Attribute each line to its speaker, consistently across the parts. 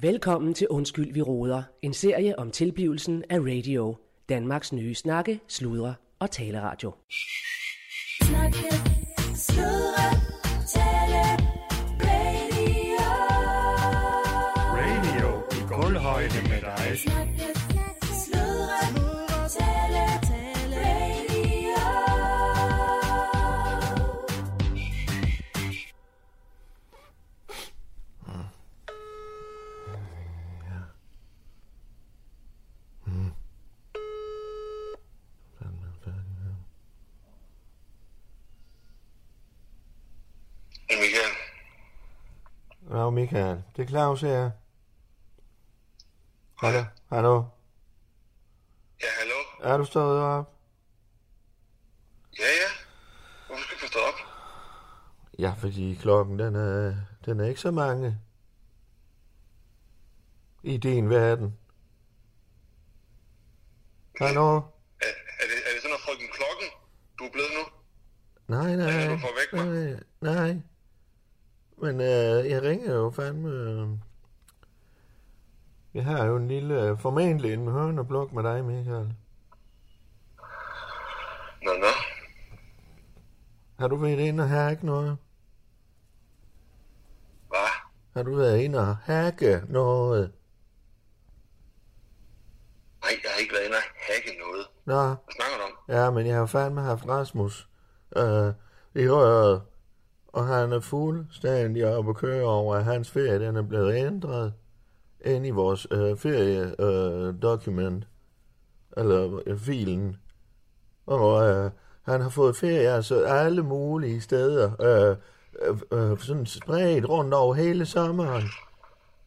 Speaker 1: Velkommen til Undskyld, vi råder. En serie om tilblivelsen af radio. Danmarks nye snakke, sludre og taleradio.
Speaker 2: Snakke, sludre, tale, radio.
Speaker 3: Radio i gulvhøjde med dig.
Speaker 2: Snakke, sludre, tale, tale, radio.
Speaker 4: Men Michael,
Speaker 5: Nå, Michael. Det er Claus her. Hallo? Hallo?
Speaker 4: ja, hallo?
Speaker 5: Er du stået op?
Speaker 4: Ja, ja. Hvorfor skal du stå op?
Speaker 5: Ja, fordi klokken, den er, den er ikke så mange. I din verden. Hallo?
Speaker 4: Er, er, det, er det sådan noget frygten klokken, du er blevet nu?
Speaker 5: Nej, nej.
Speaker 4: er du for væk, hva'?
Speaker 5: nej, nej. Men øh, jeg ringer jo fandme... Øh. Jeg har jo en lille, øh, formentlig en høneblok med dig, Michael.
Speaker 4: Nå, nå.
Speaker 5: Har du været inde og hacke noget?
Speaker 4: Hvad?
Speaker 5: Har du været inde og hacke noget?
Speaker 4: Nej, jeg har ikke været inde og hacke noget.
Speaker 5: Nå,
Speaker 4: Hvad snakker du om?
Speaker 5: Ja, men jeg har fandme haft Rasmus øh, i øret, og han er fuldstændig oppe at køre over, at hans ferie den er blevet ændret ind i vores øh, feriedokument, øh, document, eller øh, filen. Og øh, han har fået ferie altså alle mulige steder, øh, øh, øh, sådan spredt rundt over hele sommeren.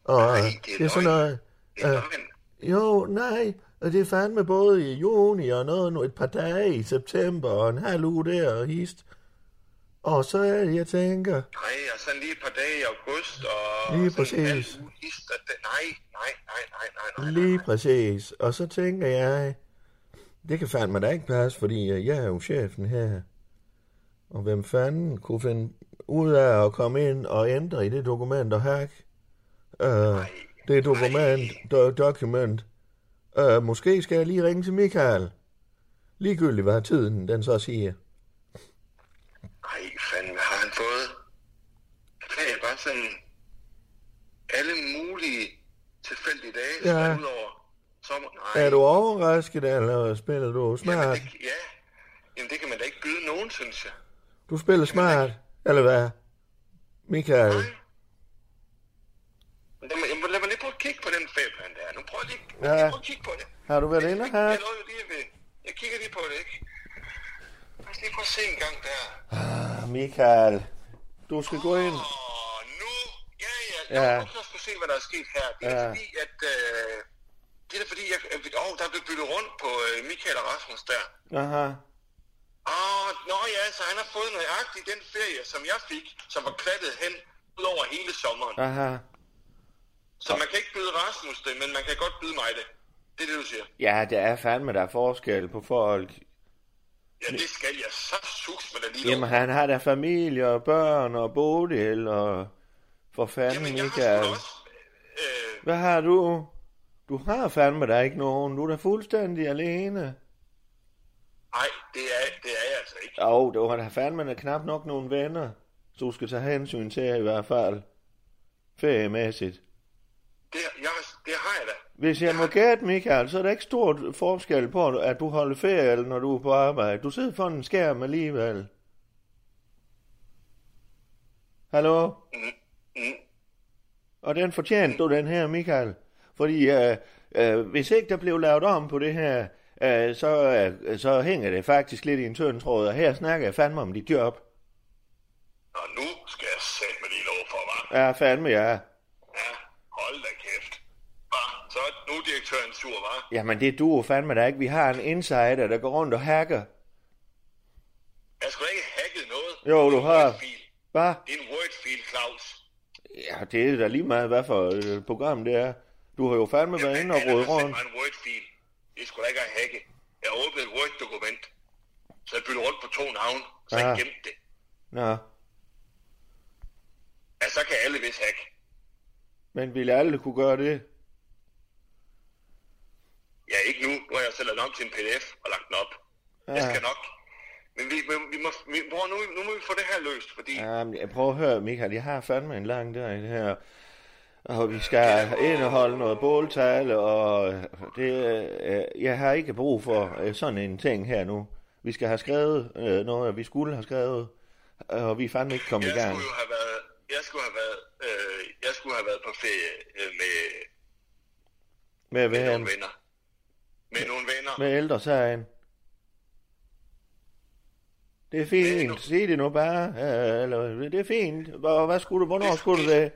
Speaker 5: Og øh,
Speaker 4: Ej, det er
Speaker 5: det er sådan
Speaker 4: løgn.
Speaker 5: noget...
Speaker 4: Det er klokken.
Speaker 5: Jo, nej, og det er fandme både i juni og noget nu, et par dage i september og en halv uge der og hist. Og så er det, jeg tænker,
Speaker 4: Nej, og sådan lige et par dage i august, og...
Speaker 5: Lige
Speaker 4: sådan en halv
Speaker 5: præcis.
Speaker 4: uge hist, og det- Nej, nej, nej, nej, nej, nej, nej.
Speaker 5: lige præcis, og så tænker jeg, det kan fandme da ikke passe, fordi øh, jeg er jo chefen her. Og hvem fanden kunne finde ud af at komme ind og ændre i det dokument og hack? Uh, det dokument, do- document. Uh, måske skal jeg lige ringe til Michael. Ligegyldigt hvad tiden den så siger.
Speaker 4: Nej, fanden, har han fået... Hvad er bare sådan... Alle mulige tilfældige dage,
Speaker 5: Ja.
Speaker 4: ja. udover sommer... Nej.
Speaker 5: Er du overrasket, eller spiller du
Speaker 4: Jamen,
Speaker 5: smart?
Speaker 4: det, ja, jamen det kan man da ikke byde nogen, synes jeg.
Speaker 5: Du spiller smart, eller hvad? Michael,
Speaker 4: Nej. Men Lad mig, jamen, lad mig lige prøve at kigge på den fæblan der. Nu prøv lige, ja.
Speaker 5: Ja.
Speaker 4: lige prøve at kigge på det.
Speaker 5: har du været inde
Speaker 4: Jeg,
Speaker 5: her?
Speaker 4: jeg, lovede lige ved. jeg kigger lige på det, ikke? Lad os lige prøve at se en gang der.
Speaker 5: Michael, du skal gå ind.
Speaker 4: Og nu, ja, ja,
Speaker 5: Ja.
Speaker 4: ja. Nu skal se, hvad der er sket her. Det er ja.
Speaker 5: Ja.
Speaker 4: fordi, at... Øh, det er da fordi, jeg, oh, der er blevet byttet rundt på øh, Michael og Rasmus der.
Speaker 5: Aha.
Speaker 4: Åh, nå ja, så han har fået nøjagtigt den ferie, som jeg fik, som var klattet hen ud over hele sommeren.
Speaker 5: Aha.
Speaker 4: Så man kan ikke byde Rasmus det, men man kan godt byde mig det. Det er det, du siger.
Speaker 5: Ja, der er fandme der er forskel på folk.
Speaker 4: Ja, det skal jeg så sus med dig lige
Speaker 5: Jamen,
Speaker 4: Jamen,
Speaker 5: han har der familie og børn og Bodil og... For fanden,
Speaker 4: Jamen jeg har
Speaker 5: Michael.
Speaker 4: sgu da også... Øh,
Speaker 5: Hvad har du? Du har fandme der ikke nogen. Du er da fuldstændig alene.
Speaker 4: nej, det er, det er jeg altså ikke.
Speaker 5: Jo, oh, du har da fandme da knap nok nogle venner, så du skal tage hensyn til i hvert fald. Feriemæssigt.
Speaker 4: Det, jeg, det har jeg da.
Speaker 5: Hvis jeg må gætte, Michael, så er der ikke stor forskel på, at du holder ferie, eller når du er på arbejde. Du sidder foran en skærm alligevel. Hallo?
Speaker 4: Mm.
Speaker 5: Og den fortjente du, den her, Michael. Fordi øh, øh, hvis ikke der blev lavet om på det her, øh, så, øh, så hænger det faktisk lidt i en tynd tråd. Og her snakker jeg fandme om dit job.
Speaker 4: Og nu skal jeg sætte mig lige lov for, hva'?
Speaker 5: Ja, fandme jeg ja.
Speaker 4: Ja, hold da kæft. Hva? Så er nu er direktøren sur, hva'?
Speaker 5: Jamen, det duer fandme da ikke. Vi har en insider, der går rundt og hacker.
Speaker 4: Jeg skulle da ikke have hacket noget.
Speaker 5: Jo,
Speaker 4: Det er
Speaker 5: du
Speaker 4: en
Speaker 5: har.
Speaker 4: Word-fil.
Speaker 5: Hvad?
Speaker 4: Det er en Word-fil, Claus.
Speaker 5: Ja, det er da lige meget, hvad for øh, program det er. Du har jo fandme været inde og rode rundt.
Speaker 4: Det er en Word-fil. Det skulle da ikke have hacket. Jeg åbnede et Word-dokument. Så jeg byttede rundt på to navne. Så jeg
Speaker 5: Ah.
Speaker 4: gemte det.
Speaker 5: Nå,
Speaker 4: Ja, så kan alle vist hacke.
Speaker 5: Men ville alle kunne gøre det?
Speaker 4: Ja, ikke nu. Nu har jeg selv nok til en pdf og lagt den op. Ja. Jeg
Speaker 5: Ja.
Speaker 4: skal nok. Men vi, vi, vi må, vi, bror, nu, nu må vi få det her løst, fordi... Ja.
Speaker 5: Jamen, jeg prøver at høre, Michael, jeg har fandme en lang dag i det her. Og vi skal ind og holde noget båltale, og det, øh, jeg har ikke brug for øh, sådan en ting her nu. Vi skal have skrevet øh, noget, vi skulle have skrevet, og vi er fandme ikke kommet i
Speaker 4: Jeg
Speaker 5: gang.
Speaker 4: skulle jo have været, jeg skulle have været, øh, jeg skulle have været på ferie øh, med,
Speaker 5: Med,
Speaker 4: med
Speaker 5: VM,
Speaker 4: nogle venner. Med nogle venner.
Speaker 5: med ældresagen. Det er
Speaker 4: Det er
Speaker 5: fint,
Speaker 4: nu-
Speaker 5: sig det nu bare. øh, Eller, det er fint. Hvor, hvad skulle du, hvornår skulle du det?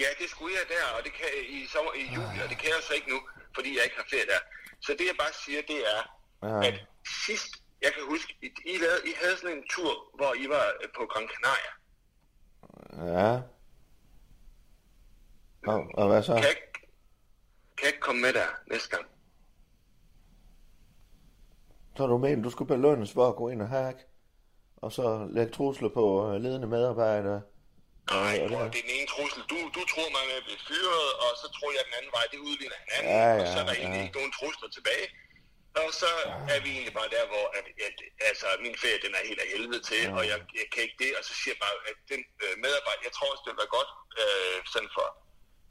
Speaker 4: Ja, det skulle jeg der, og det kan jeg i, sommer, i juli, og det kan jeg så ikke nu, fordi jeg ikke har ferie der. Så det jeg bare siger, det er,
Speaker 5: Ja.
Speaker 4: at sidst, jeg kan huske, I, I, lavede, I havde sådan en tur, hvor I var øh, på Gran Canaria.
Speaker 5: Ja. Og, og hvad så?
Speaker 4: Kan jeg, ikke, kan jeg ikke komme med der næste gang?
Speaker 5: Så du mener, du skulle belønnes for at gå ind og hack, og så lægge trusler på øh, ledende medarbejdere?
Speaker 4: Nej,
Speaker 5: ja, det
Speaker 4: bror,
Speaker 5: er-
Speaker 4: det er den ene trussel. Du, du tror mig med at blive fyret, og så tror jeg den anden vej, det udligner hinanden,
Speaker 5: Ja,
Speaker 4: og så er
Speaker 5: ja,
Speaker 4: der egentlig
Speaker 5: ja.
Speaker 4: ikke nogen trusler tilbage. Og så er vi egentlig bare der, hvor at, at, altså, min ferie den er helt af helvede til, og jeg, jeg kan ikke det, og så siger jeg bare, at den øh, medarbejder, jeg tror også, det vil være godt øh, sådan for,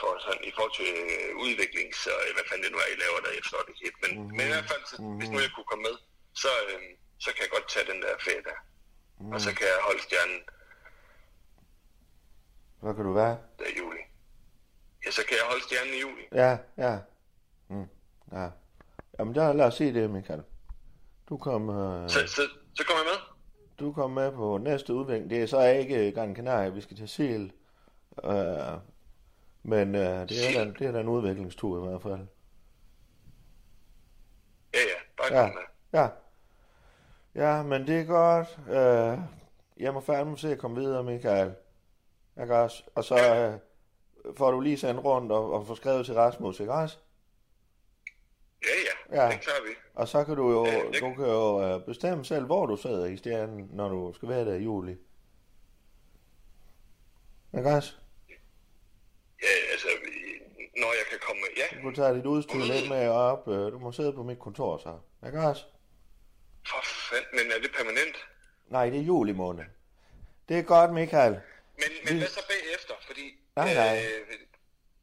Speaker 4: for sådan, i forhold til øh, udvikling, så øh, hvad fanden det nu er, I laver der, jeg forstår det ikke helt. Men,
Speaker 5: Mhm.
Speaker 4: mm-hmm. men i hvert fald, så, hvis nu jeg kunne komme med, så, øh, så kan jeg godt tage den der ferie der. Mm.
Speaker 5: Mhm.
Speaker 4: Og så kan jeg holde stjernen
Speaker 5: Hvad kan du være?
Speaker 4: af juli. Ja, så kan jeg holde stjernen i juli.
Speaker 5: Ja, ja. Mm, ja. Jamen, der, lad os se det, Michael. Du kom, øh,
Speaker 4: Så, så, så kommer jeg med.
Speaker 5: du kom med på næste udvikling. Det er så ikke Gran Canaria, vi skal til Sil. Øh, men øh, det, er da, det er da en udviklingstur i hvert fald.
Speaker 4: Ja, ja, bare
Speaker 5: Ja,
Speaker 4: kom med.
Speaker 5: ja. Ja, men det er godt. Øh, jeg må fandme se at komme videre, Michael. Ikke også? Og så øh, får du lige sendt rundt og, og få skrevet til Rasmus, ikke også?
Speaker 4: Ja, ja,
Speaker 5: Ja.
Speaker 4: ja. det klarer vi.
Speaker 5: Og så kan du jo,
Speaker 4: Ja, det-
Speaker 5: du kan jo øh, bestemme selv, hvor du sidder i stjernen, når du skal være der i juli. Ikke også?
Speaker 4: Ja, altså, vi- når jeg kan komme med. Ja,
Speaker 5: Du tager dit udstyr lidt med op. Øh, du må sidde på mit kontor så. Ikke også?
Speaker 4: for fanden, men er det permanent?
Speaker 5: Nej, det er juli måned. Det er godt, Michael.
Speaker 4: Men, men hvad så bagefter? Fordi, øh,
Speaker 5: Nej, nej.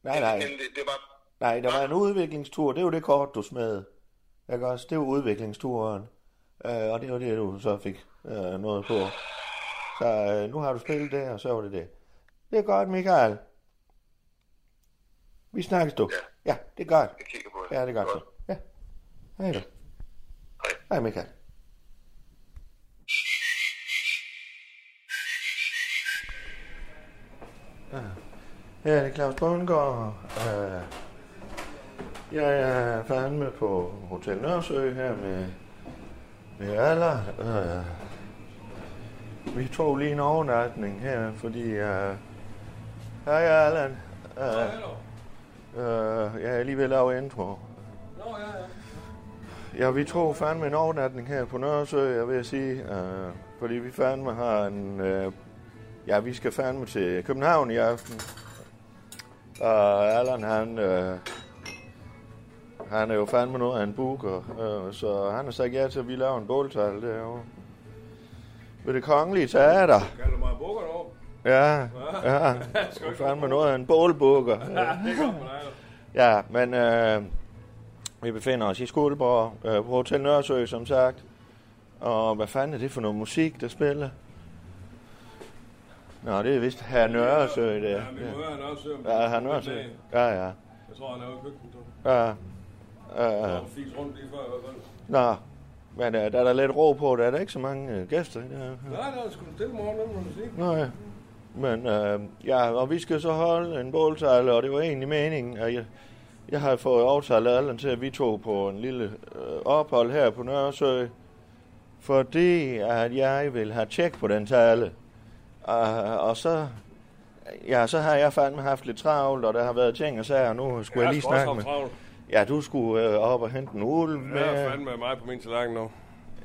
Speaker 5: Nej, nej.
Speaker 4: Men det, det var...
Speaker 5: Nej, der var en udviklingstur. Det er jo det kort, du smed. Ikke også? Det er jo udviklingsturen. Øh, og det var det, du så fik øh, noget på. Så øh, nu har du spillet det, og så var det det. Det er godt, Michael. Vi snakkes, du.
Speaker 4: Ja.
Speaker 5: Ja, det er godt.
Speaker 4: Jeg kigger på det.
Speaker 5: Ja, det er godt. så. Ja. Hej du.
Speaker 4: Hej.
Speaker 5: Hej, Michael. Ja, det er Claus Bundgaard. Øh, Jeg er fandme på Hotel Nørresø her med, med Aller. Øh, Vi tog lige en overnatning her, fordi... Øh, hej, Allan. Øh, Øh, jeg er lige ved at lave intro. Nå, ja, ja. Ja, vi tog fandme en overnatning her på Nørresø, jeg vil sige. Øh, fordi vi fandme har en... Øh, ja, vi skal fandme til København i aften. Og Allan, han... Øh, han er jo fandme noget af en booker, øh, så han har sagt ja til, at vi laver en båltal derovre. Ved det kongelige teater.
Speaker 6: Kalder du mig bukker derovre?
Speaker 5: Ja, ja. Du er fandme noget af en bålbooker. Ja.
Speaker 6: Det er godt for dig,
Speaker 5: Ja, men øh, vi befinder os i Skuldborg øh, på Hotel Nørresø, som sagt. Og hvad fanden er det for noget musik, der spiller? Nå, det er vist herr Nørresø, det er.
Speaker 6: Ja, min mor han også. øh,
Speaker 5: Ja, herr Nørresø. Ja, ja.
Speaker 6: Jeg tror, han er ude i køkkenet. du.
Speaker 5: ja. ja.
Speaker 6: Han fik rundt lige før i hvert fald.
Speaker 5: Nå, men øh, der er der lidt ro på, der er der ikke så mange øh, gæster. Ja.
Speaker 6: Nej, nej, sgu stille morgen, nu må du sige.
Speaker 5: Nå ja. Men øh, ja, og vi skal så holde en bålsejl, og det var egentlig meningen, at jeg, jeg har fået overtalt Allan til, at vi tog på en lille øh, ophold her på Nørresø, fordi at jeg vil have tjek på den tale. Uh, og så, ja, så har jeg fandme haft lidt travlt, og der har været ting og sager, og nu skulle jeg, jeg lige snakke med.
Speaker 6: Travlt.
Speaker 5: Ja, du skulle øh, op og hente en ulv med.
Speaker 6: Jeg er fandme mig på min tallerken nu.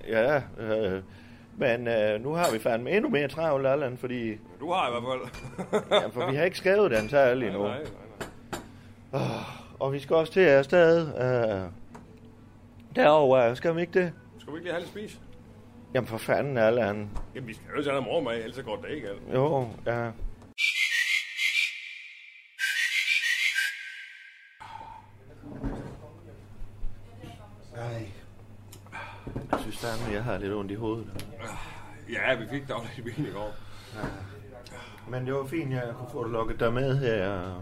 Speaker 5: ja, øh, men øh, nu har vi fandme endnu mere travlt, Allan, fordi
Speaker 6: Du har i hvert fald.
Speaker 5: Ja, for vi har ikke skrevet den tal endnu.
Speaker 6: nej, nej, nej.
Speaker 5: Og vi skal også til afsted. Øh, derovre, skal vi ikke det?
Speaker 6: Skal vi ikke lige have lidt spis?
Speaker 5: Jamen for fanden, Allan.
Speaker 6: Jamen, vi skal jo tage noget mor med, ellers så går det ikke. Altså.
Speaker 5: Jo, ja. Nej. Jeg synes fandme, jeg har lidt ondt i hovedet.
Speaker 6: Ja, vi fik dagligt i bilen i går.
Speaker 5: Men det var fint, jeg kunne få lukket dig med her.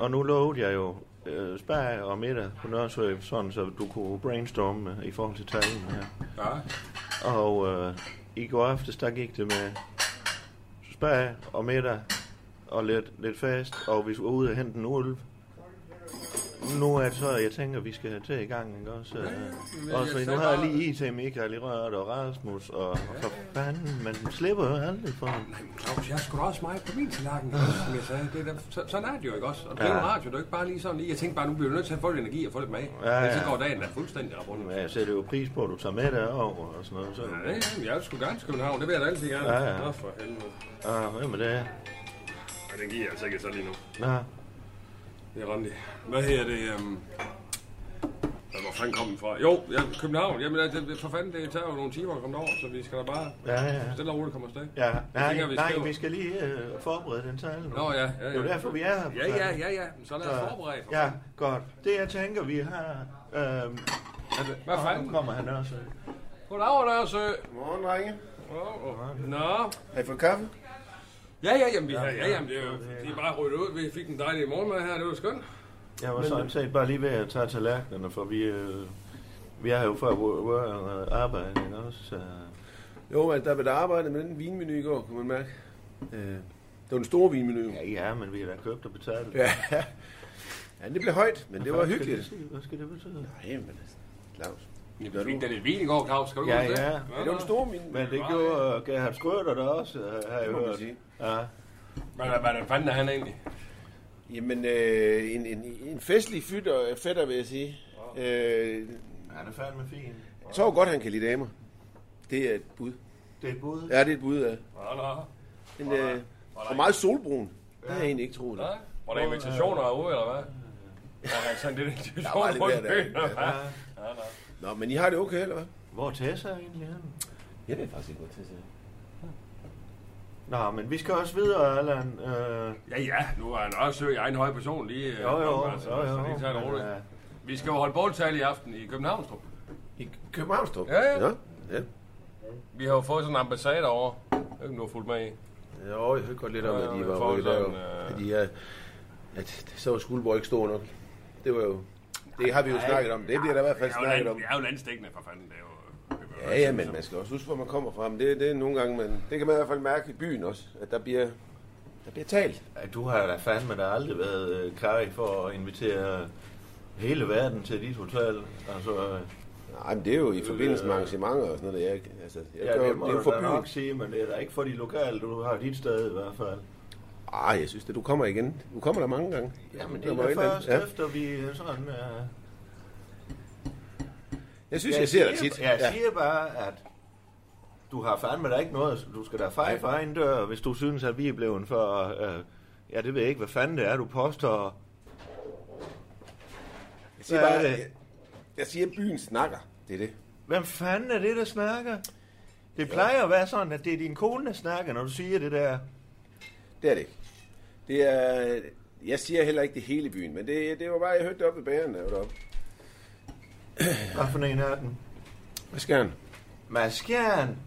Speaker 5: Og nu lovede jeg jo øh, spag og middag på Nørresø, sådan så du kunne brainstorme øh, i forhold til talen her.
Speaker 6: Ja.
Speaker 5: Og øh, i går aftes, der gik det med spag og middag og lidt, lidt fast, og vi skulle ud og hente en ulv. Nu er det så, jeg tænker, vi skal til i gang, ikke også? Øh, og så nu har jeg lige IT, Michael i røret og Rasmus, og, og for fanden, man slipper jo aldrig for ham.
Speaker 6: Claus, jeg skulle også meget på min tallerken, som jeg sagde. Det er da, så, sådan er det jo ikke også. Og det er jo
Speaker 5: Ja.
Speaker 6: radio, det er jo ikke bare lige sådan lige. Jeg tænkte bare, nu bliver vi nødt til at få lidt energi og få lidt mag.
Speaker 5: Ja, ja.
Speaker 6: Men så går dagen da fuldstændig af rundt.
Speaker 5: Ja, jeg sætter jo pris på, at du tager med derover og sådan noget. Så,
Speaker 6: Ja, ja, jeg skulle gerne til København. Det vil jeg da altid gerne.
Speaker 5: Ja, ja.
Speaker 6: Nå, for helvede.
Speaker 5: ah, hvem er det?
Speaker 6: Men den giver jeg altså ikke så lige nu.
Speaker 5: Nå,
Speaker 6: Det er Randi. Hvad hedder det? Øhm... Hvad, hvor fanden kom den fra? Jo, ja, København. Jamen, det- det, for fanden, det tager jo nogle timer at komme derover, så vi skal da bare
Speaker 5: ja, ja.
Speaker 6: stille og roligt komme afsted.
Speaker 5: Ja, nej,
Speaker 6: tænker, vi
Speaker 5: nej,
Speaker 6: skriver.
Speaker 5: vi skal lige øh, forberede den tale nu.
Speaker 6: Nå, ja, ja, ja.
Speaker 5: Det er jo derfor, vi er her. for
Speaker 6: Ja, ja,
Speaker 5: fanden.
Speaker 6: ja, ja. Så lad os forberede. For
Speaker 5: Ja, godt. Det jeg tænker, vi har... Øh,
Speaker 6: fanden. Hvad
Speaker 5: og nu
Speaker 6: fanden?
Speaker 5: kommer han også.
Speaker 6: Goddag, Nørresø.
Speaker 7: Morgen, drenge.
Speaker 6: Åh, åh. Nå.
Speaker 7: Har I fået kaffe?
Speaker 6: Ja, ja, jamen, vi har, ja, jamen, det er jo det er bare ryddet ud. Vi fik en dejlig morgenmad her, det var skønt.
Speaker 5: Jeg var sådan set bare lige ved at tage tallerkenerne, for vi... Øh, vi er jo før hvor- hvor, øh, arbejde, ikke også? Så,
Speaker 7: Jo, altså, der blev der arbejdet med den vinmenu i går, kunne man mærke. Øh, det var den store vinmenu.
Speaker 5: ja, ja, men vi har da købt og betalt.
Speaker 7: Ja. ja, det blev højt, men det var
Speaker 5: Hvad skal
Speaker 7: hyggeligt.
Speaker 5: betyde? Hvad skal det betyde?
Speaker 7: Nej, men altså, Claus.
Speaker 6: Vi
Speaker 7: Gør du?
Speaker 6: fik da lidt vin i går, Claus. Skal du
Speaker 5: Ja,
Speaker 6: huske det?
Speaker 5: ja.
Speaker 6: Ja,
Speaker 7: Ja, det var den store vinmenu.
Speaker 5: Men det gjorde uh, Gerhard Schröder der også, uh, har jeg
Speaker 7: Det må man
Speaker 5: hørt.
Speaker 7: sige.
Speaker 5: Ja.
Speaker 6: Hvad, hvad, hvad fanden er han egentlig?
Speaker 7: Jamen, øh, en, en, en festlig fytter, fætter, vil jeg sige. Øh,
Speaker 5: Han er fandme fin.
Speaker 7: jeg tror godt, han kan lide damer. Det er et bud.
Speaker 5: Det er et bud.
Speaker 7: Ja, det er et bud, ja.
Speaker 6: Nå, nå.
Speaker 7: En, øh, og meget solbrun. Det havde jeg egentlig ikke troet.
Speaker 6: Nå, Var der invitationer herude, eller hvad? Var der sådan lidt
Speaker 7: Der
Speaker 6: invitationer
Speaker 7: var lidt
Speaker 6: på
Speaker 7: hver
Speaker 6: en
Speaker 7: dag.
Speaker 6: ø, eller hvad? Ja, nå.
Speaker 7: Nå, men I har det okay, eller hvad?
Speaker 5: Hvor er Tessa egentlig henne?
Speaker 7: Jeg ved faktisk ikke, hvor til det
Speaker 5: Nå, men vi skal også videre, Allan. Uh,
Speaker 6: Ja, ja, nu er han også i egen høj person lige. øh,
Speaker 5: jo, jo,
Speaker 6: altså,
Speaker 5: jo,
Speaker 6: Så
Speaker 5: jo.
Speaker 6: lige tage det roligt.
Speaker 5: Men, øh,
Speaker 6: Vi skal jo holde båltal i aften i Københavnstrup.
Speaker 7: I Københavnstrup?
Speaker 6: Ja, ja.
Speaker 7: ja. ja.
Speaker 6: Vi har jo fået sådan en ambassade over. Jeg ved ikke, om du har fulgt med i.
Speaker 7: Jo, jeg hørte godt lidt om,
Speaker 6: Ja,
Speaker 7: at
Speaker 6: men
Speaker 7: de var
Speaker 6: for
Speaker 7: rykket
Speaker 6: sådan,
Speaker 7: der.
Speaker 6: øh,
Speaker 7: Fordi jeg, at så var Skuldborg ikke stor nok. Det var jo... Det har vi jo snakket om. Det bliver der i hvert fald
Speaker 6: Det er jo, land,
Speaker 7: snakket om.
Speaker 6: det er jo landstækkende, for fanden. Det er jo, det er jo-
Speaker 7: Ja, ja, men man skal også huske, hvor man kommer fra. Men det, det er nogle gange, man, det kan man i hvert fald mærke i byen også, at der bliver, der bliver talt.
Speaker 5: Ja, Du har da fandme da aldrig været øh, kaj for at invitere hele verden til dit hotel. Altså, øh,
Speaker 7: Nej, men det er jo i forbindelse med arrangementer og sådan noget. Jeg, altså, jeg
Speaker 5: ja,
Speaker 7: gør,
Speaker 5: det må
Speaker 7: det er jo
Speaker 5: det
Speaker 7: for
Speaker 5: du da nok
Speaker 7: byen.
Speaker 5: sige, men det er da ikke for de lokale, du har dit sted i hvert fald.
Speaker 7: Ah, jeg synes det. Du kommer igen. Du kommer der mange gange.
Speaker 5: Jamen,
Speaker 7: Der
Speaker 5: det
Speaker 7: var
Speaker 5: er
Speaker 7: et
Speaker 5: da
Speaker 7: eller andet.
Speaker 5: først
Speaker 7: Ja.
Speaker 5: efter vi øh, sådan... Uh,
Speaker 7: Jeg synes, jeg ser dig tit.
Speaker 5: Jeg siger bare, at du har fandme da ikke noget. Du skal da feje for egen dør, hvis du synes, at vi er blevet for... Øh, ja, det ved jeg ikke, hvad fanden det er, du påstår.
Speaker 7: Jeg siger
Speaker 5: Hvad
Speaker 7: bare,
Speaker 5: er det?
Speaker 7: jeg, jeg siger, at byen snakker. Det er det.
Speaker 5: Hvem fanden er det, der snakker? Det plejer at være sådan, at det er din kone, der snakker, når du siger det der.
Speaker 7: Det er det ikke. Det er, jeg siger heller ikke det hele i byen, men det, det var bare, jeg hørte det oppe i bageren, der var deroppe.
Speaker 5: Hvad for en af dem?
Speaker 7: Hvad skal han?
Speaker 5: Mads Kjern.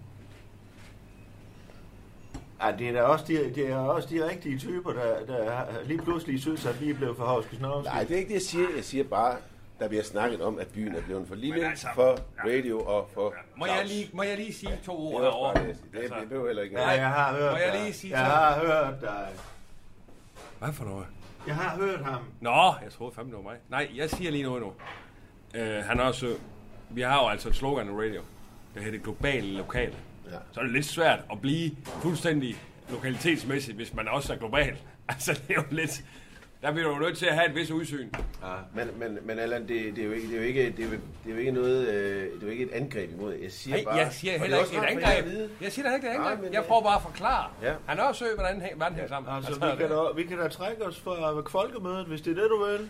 Speaker 5: Ja, det er da også de, det er også de rigtige typer, der, der lige pludselig synes, at vi er blevet for havske snorske.
Speaker 7: Nej, det er ikke det, jeg siger. Jeg siger bare, der bliver snakket om, at byen er blevet for lille
Speaker 6: Men
Speaker 7: altså,
Speaker 6: altså-
Speaker 7: for radio og for
Speaker 6: Må jeg,
Speaker 7: Claus.
Speaker 6: lige, må jeg lige sige to
Speaker 7: Det
Speaker 6: ord
Speaker 7: var bare
Speaker 6: herovre?
Speaker 7: det, jeg siger. Det,
Speaker 6: Altså,
Speaker 7: det behøver heller ikke.
Speaker 5: Ja, jeg har hørt
Speaker 6: Må jeg
Speaker 5: dig.
Speaker 6: lige sige
Speaker 5: jeg
Speaker 6: så?
Speaker 5: har hørt dig.
Speaker 6: Hvad for noget?
Speaker 5: Jeg har hørt ham.
Speaker 6: Nå, jeg troede fandme, det var mig. Nej, jeg siger lige noget nu. Øh, han er også... øh, Vi har jo altså et slogan i radio. Det hedder det globale lokale.
Speaker 7: Ja.
Speaker 6: Ja. Så er det lidt svært at blive fuldstændig lokalitetsmæssigt, hvis man også er global. Altså, det er jo lidt... Der bliver du jo nødt til at have et vis udsyn.
Speaker 7: Ja. Men, men, men Allan, det, det, er jo ikke, det, er jo ikke, det, er jo, det er jo ikke noget, øh, det er jo ikke et angreb imod. Jeg siger
Speaker 6: Nej,
Speaker 7: bare...
Speaker 6: jeg siger
Speaker 7: og
Speaker 6: heller
Speaker 7: er
Speaker 6: ikke
Speaker 7: også
Speaker 6: det er et
Speaker 7: rart for jer at
Speaker 6: angreb.
Speaker 7: vide.
Speaker 6: Jeg siger da ikke det er et
Speaker 7: Nej,
Speaker 6: angreb.
Speaker 7: men,
Speaker 6: Jeg
Speaker 7: øh,
Speaker 6: prøver bare at forklare.
Speaker 7: Ja.
Speaker 6: Han er også søg, hvordan hæ- hvordan hænger sammen.
Speaker 5: Altså,
Speaker 6: er
Speaker 5: vi kan,
Speaker 6: det-
Speaker 5: da, vi kan da trække os fra folkemødet, hvis det er det, du vil.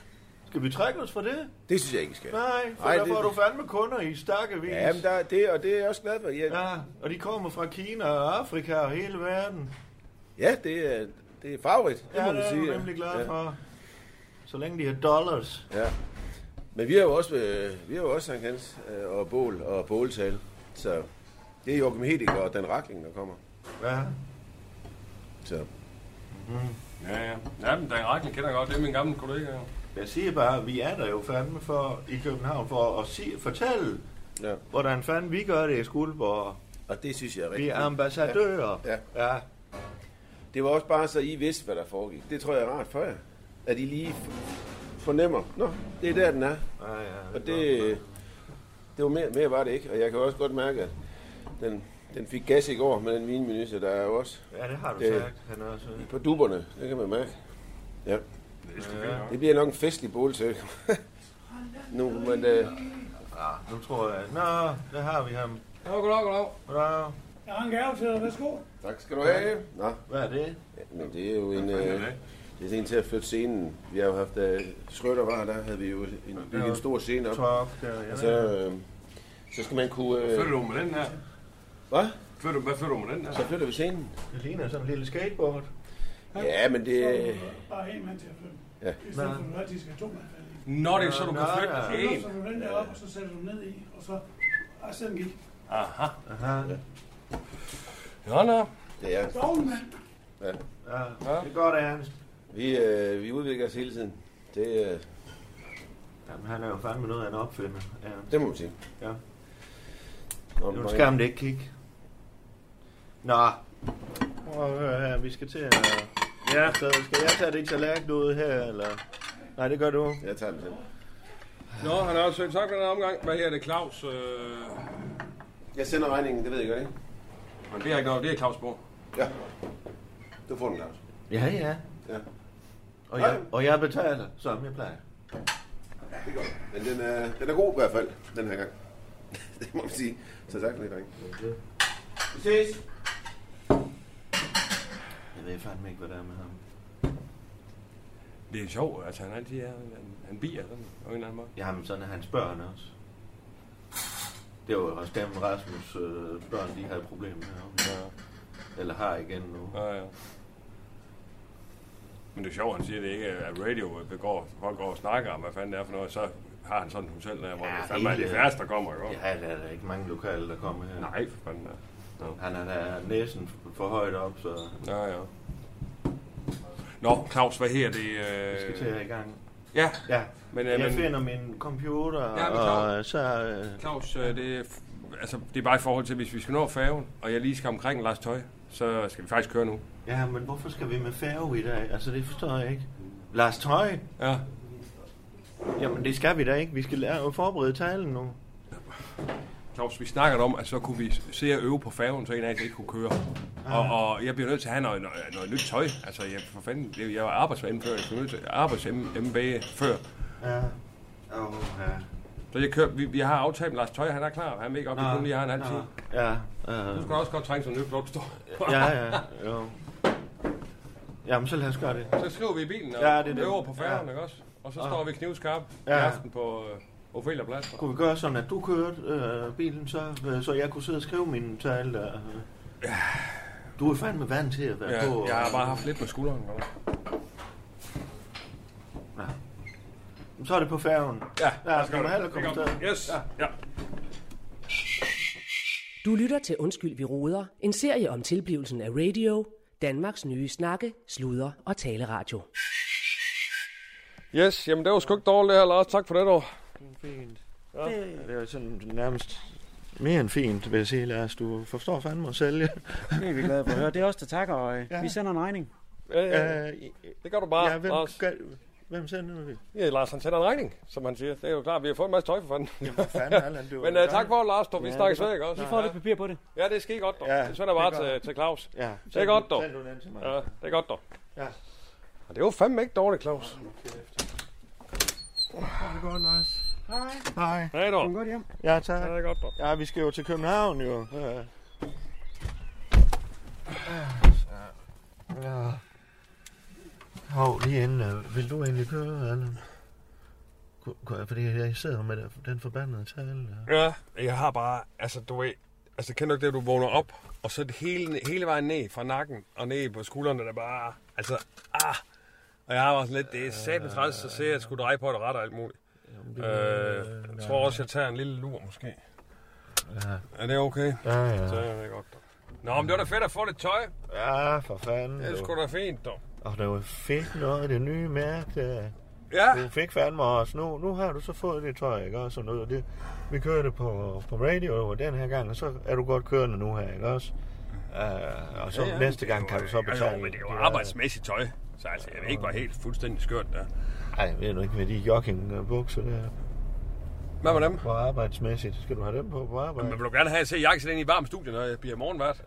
Speaker 5: Skal vi trække os fra det?
Speaker 7: Det synes jeg ikke, I skal.
Speaker 5: Nej, for
Speaker 7: Ej,
Speaker 5: Ej, der
Speaker 7: det-
Speaker 5: får du fandme kunder i stakkevis.
Speaker 7: Ja, men der, det, og det er jeg også glad for. Jeg, ja.
Speaker 5: ja, og de kommer fra Kina og Afrika og hele verden.
Speaker 7: ja, det er, det er favorit, det
Speaker 5: Ja,
Speaker 7: må
Speaker 5: det
Speaker 7: man
Speaker 5: er
Speaker 7: sige.
Speaker 5: jeg nemlig glad
Speaker 7: ja.
Speaker 5: for. Så længe de har dollars.
Speaker 7: Ja. Men vi har jo også, øh, vi har jo også Sankt Hans øh, og bål og båltal. Så det er Joachim Hedinger og Dan Rakling, der kommer.
Speaker 5: Ja.
Speaker 7: Så.
Speaker 6: Ja, ja. Ja, men Dan Ragnar kender jeg godt. Det er min gamle kollega. jo.
Speaker 5: Jeg siger bare, at vi er der jo fandme for, i København for at sige, fortælle,
Speaker 7: Ja.
Speaker 5: hvordan fanden vi gør det i Skuldborg.
Speaker 7: Og det synes jeg er
Speaker 5: Vi
Speaker 7: rigtig
Speaker 5: er ambassadører.
Speaker 7: Ja.
Speaker 5: ja.
Speaker 7: Det var også bare så, I vidste, hvad der foregik. Det tror jeg er rart for jer. At I lige f- fornemmer, nå, det er der, den er.
Speaker 5: ja, ja
Speaker 7: Og det, det var mere, mere var det ikke. Og jeg kan også godt mærke, at den, den fik gas i går med den vinmenu, så der er jo også
Speaker 5: Ja, det har du
Speaker 7: det-
Speaker 5: sagt, han også.
Speaker 7: på duberne. Det kan man mærke. Ja.
Speaker 5: Ja.
Speaker 7: Det bliver nok en festlig båltøg. nu, men øh,
Speaker 5: Nu tror jeg, nå, der har vi ham.
Speaker 6: Nå, goddag, goddag.
Speaker 5: Goddag.
Speaker 8: Jeg har en gave til dig. Værsgo.
Speaker 7: tak skal du have. Nå,
Speaker 5: Hvad er det?
Speaker 7: ja, men det er jo en... Øh, det er en til at flytte scenen. Vi har jo haft øh, Schrøder var, der havde vi jo en, bygget en stor scene op.
Speaker 5: Talk, der, ja.
Speaker 7: Og så, øh, så skal man kunne...
Speaker 6: Flytter
Speaker 7: Øh,
Speaker 6: du med den her?
Speaker 7: hvad?
Speaker 6: Flytter, hvad flytter du med den her?
Speaker 7: Så flytter vi scenen.
Speaker 5: Det ligner sådan en lille skateboard.
Speaker 7: Ja, men det...
Speaker 8: Bare en mand til at flytte.
Speaker 7: Ja.
Speaker 8: I stedet for, at du har, de skal have to mand fat i.
Speaker 6: Nå, det er så, du kan
Speaker 5: Nå,
Speaker 6: flytte
Speaker 5: ja.
Speaker 6: en.
Speaker 8: Så du den der op, og så sætter du den ned i, og så... Og så den gik.
Speaker 6: Aha.
Speaker 5: Aha.
Speaker 6: Nå, nå.
Speaker 7: Det er,
Speaker 8: Dogen mand.
Speaker 5: Ja. Det er godt, Ernst.
Speaker 7: vi, øh, vi udvikler os hele tiden. Det, øh,
Speaker 5: Jamen, han er jo fandme noget af en opfinder, Ernst.
Speaker 7: det må man sige.
Speaker 5: Ja.
Speaker 7: Nå,
Speaker 5: Det er
Speaker 7: men-
Speaker 5: jo en skam, det ikke kigge. Nå. Prøv at høre her, vi skal til at... Ja. Så skal jeg tage det tallerken ud her, eller... Nej, det gør du.
Speaker 7: Jeg tager den selv.
Speaker 6: Nå, han har også tak for den her omgang. Hvad her er det, Claus? Øh...
Speaker 7: Jeg sender regningen, det ved jeg godt, ikke?
Speaker 6: Men det er ikke noget, det er Claus Borg.
Speaker 7: Ja. Du får den, Claus.
Speaker 5: Ja, ja.
Speaker 7: Ja.
Speaker 5: Og jeg, og jeg betaler, som jeg plejer.
Speaker 7: Det er godt. Men den er, den er god i hvert fald, den her gang. det må man sige. Så tak for det, dreng. Vi ses.
Speaker 5: Jeg ved fandme ikke, hvad der er med ham.
Speaker 6: Det er sjovt, altså han altid er, han, han bier sådan, på en eller anden måde.
Speaker 5: Jamen, sådan er hans børn også. Det var jo også gennem Rasmus' øh, børn, de havde problemer med
Speaker 6: Ja,
Speaker 5: Eller har igen nu.
Speaker 6: ja, ja. Men det er sjovt, han siger det ikke, at radio begår, folk går og snakker om, hvad fanden det er for noget, så har han sådan en hotel der, hvor
Speaker 5: Ja,
Speaker 6: ja, det fandme er de
Speaker 5: hele-
Speaker 6: færreste, der kommer, ikke? Ja.
Speaker 5: Ja, der er der ikke mange lokale, der kommer her.
Speaker 6: Nej, for fanden da.
Speaker 5: Han er da næsen for højt op, så
Speaker 6: Ja, ja. Nå, Claus, hvad her det?
Speaker 5: vi skal til
Speaker 6: Øh...
Speaker 5: at i gang.
Speaker 6: Ja,
Speaker 5: Ja,
Speaker 6: men, øh,
Speaker 5: jeg
Speaker 6: men
Speaker 5: finder min computer,
Speaker 6: Ja, men
Speaker 5: og
Speaker 6: klar.
Speaker 5: øh, så... Øh,
Speaker 6: Claus, øh, det, er f- altså, det er bare i forhold til, hvis vi skal nå færgen, og jeg lige skal omkring Lars Tøj, så skal vi faktisk køre nu.
Speaker 5: ja, men hvorfor skal vi med færge i dag? Altså, det forstår jeg ikke. Lars Tøj?
Speaker 6: Ja.
Speaker 5: Jamen, det skal vi da ikke. Vi skal lære at forberede talen nu.
Speaker 6: Claus, vi snakkede om, at så kunne vi se og øve på færgen, så en af os ikke kunne køre. Og, og jeg bliver nødt til at have noget, noget, noget nyt tøj. Altså, jeg, for fanden, det, jeg var arbejds-MB før. Jeg blev nødt til arbejds-MB før.
Speaker 5: Ja. Åh, ja.
Speaker 6: Så jeg kører, vi, vi har aftalt med Lars Tøj, han er klar. Han vil ikke op, vi kun lige har en halv time.
Speaker 5: Ja, øh,
Speaker 6: Du skal også godt trænge sådan en nyt blot står.
Speaker 5: ja, ja, jo. Jamen, så lad os gøre det.
Speaker 6: Så skriver vi i bilen og
Speaker 5: Ja,
Speaker 6: ja,
Speaker 5: det er
Speaker 6: det
Speaker 5: det.
Speaker 6: øver på færgen,
Speaker 5: Ja.
Speaker 6: ja. ikke også? Og så står vi knivskarp ja.
Speaker 5: Ja.
Speaker 6: i aften på øh, Ophelia Plads.
Speaker 5: Kunne vi gøre sådan, at du kørte øh, bilen, så, øh, så jeg kunne sidde og skrive min tale? Øh. Du er fandme vant til at være
Speaker 6: Ja,
Speaker 5: på.
Speaker 6: jeg har
Speaker 5: øh,
Speaker 6: bare haft lidt med skulderen. Eller?
Speaker 5: Så er det på færgen.
Speaker 6: Ja,
Speaker 5: Ja, skal du heller
Speaker 6: Ikke
Speaker 5: komme
Speaker 6: om-
Speaker 5: afsted.
Speaker 6: Yes, ja. ja.
Speaker 1: Du lytter til Undskyld, vi roder, en serie om tilblivelsen af radio, Danmarks nye snakke, sludre og taleradio.
Speaker 6: Yes, jamen det var sgu ikke dårligt det her, Lars. Tak for det, dog.
Speaker 5: Ja, det er sådan nærmest mere end fint, vil jeg sige, Lars. Du forstår fandme at sælge.
Speaker 9: Det er vi glade for at høre. Det er os, der takker, og øh, vi sender en regning.
Speaker 6: Ja, ja.
Speaker 5: Øh,
Speaker 6: Det gør du bare,
Speaker 5: ja, hvem,
Speaker 6: Lars.
Speaker 5: gør, hvem sender nu det?
Speaker 6: Ja, Lars han sender en regning, som han siger. Det er jo klart, vi har fået en masse tøj for fanden.
Speaker 5: Fanden, Allan, du er
Speaker 6: Men
Speaker 5: i
Speaker 6: uh,
Speaker 5: gang.
Speaker 6: tak for det, Lars, dog. Vi
Speaker 9: Ja,
Speaker 6: snakkes
Speaker 9: det er
Speaker 6: ved, ikke også?
Speaker 9: Vi får lidt papir på det.
Speaker 6: Ja, det er skide godt, dog.
Speaker 5: Ja,
Speaker 6: Det sender jeg
Speaker 5: det er
Speaker 6: bare
Speaker 5: godt.
Speaker 6: til, til Claus.
Speaker 5: Ja,
Speaker 6: Det er godt, dog.
Speaker 5: Send du den til mig.
Speaker 6: Ja, det er godt, dog.
Speaker 5: Ja.
Speaker 6: Og det var fandme ikke dårligt, Claus.
Speaker 5: Ha' det godt, Lars. Hej. Hej.
Speaker 6: Hej
Speaker 9: Kom
Speaker 6: dog.
Speaker 9: godt hjem.
Speaker 5: Ja, tak.
Speaker 6: det godt, dog.
Speaker 5: Ja, vi skal jo til København, jo. Ja. Ja. Hov, lige inden. øh, Vil du egentlig køre, Anna? Ku- ku- Fordi jeg sidder med den- den forbandede tale. der.
Speaker 6: Ja, jeg har bare, altså du ved, altså kender du ikke det, du vågner op, og så er det hele, hele vejen ned fra nakken og ned på skuldrene, der bare, altså, ah. Og jeg har bare sådan lidt,
Speaker 5: Øh,
Speaker 6: det er satan træls at se, at jeg skulle dreje på et ret og alt muligt. Øh, jeg tror også, jeg tager en lille lur måske. Er det okay?
Speaker 5: Ja, ja.
Speaker 6: Så er det godt. dog. Nå, men det var da fedt at få lidt tøj.
Speaker 5: Ja, for fanden.
Speaker 6: Det er
Speaker 5: du.
Speaker 6: sgu da fint, dog.
Speaker 5: Og det var fedt noget, det nye mærke. der.
Speaker 6: Ja,
Speaker 5: Du fik fandme også. Nu, nu har du så fået det tøj, ikke også? Og noget, det, vi kørte på, på radio og den her gang, og så er du godt kørende nu her, ikke også? Uh, og så ja, ja, næste gang kan du så betale.
Speaker 6: Altså, Jo, men det er jo
Speaker 5: de der-
Speaker 6: arbejdsmæssigt tøj. Så altså, jeg ved ikke, hvor helt fuldstændig skørt der.
Speaker 5: Ej, ved du ikke, med de joggingbukser der.
Speaker 6: Hvad med dem?
Speaker 5: Hvor arbejdsmæssigt skal du have dem på på arbejde?
Speaker 6: Men vil du gerne have, at jeg ser Jakkes ind i varmt studie, når jeg bliver morgenvært?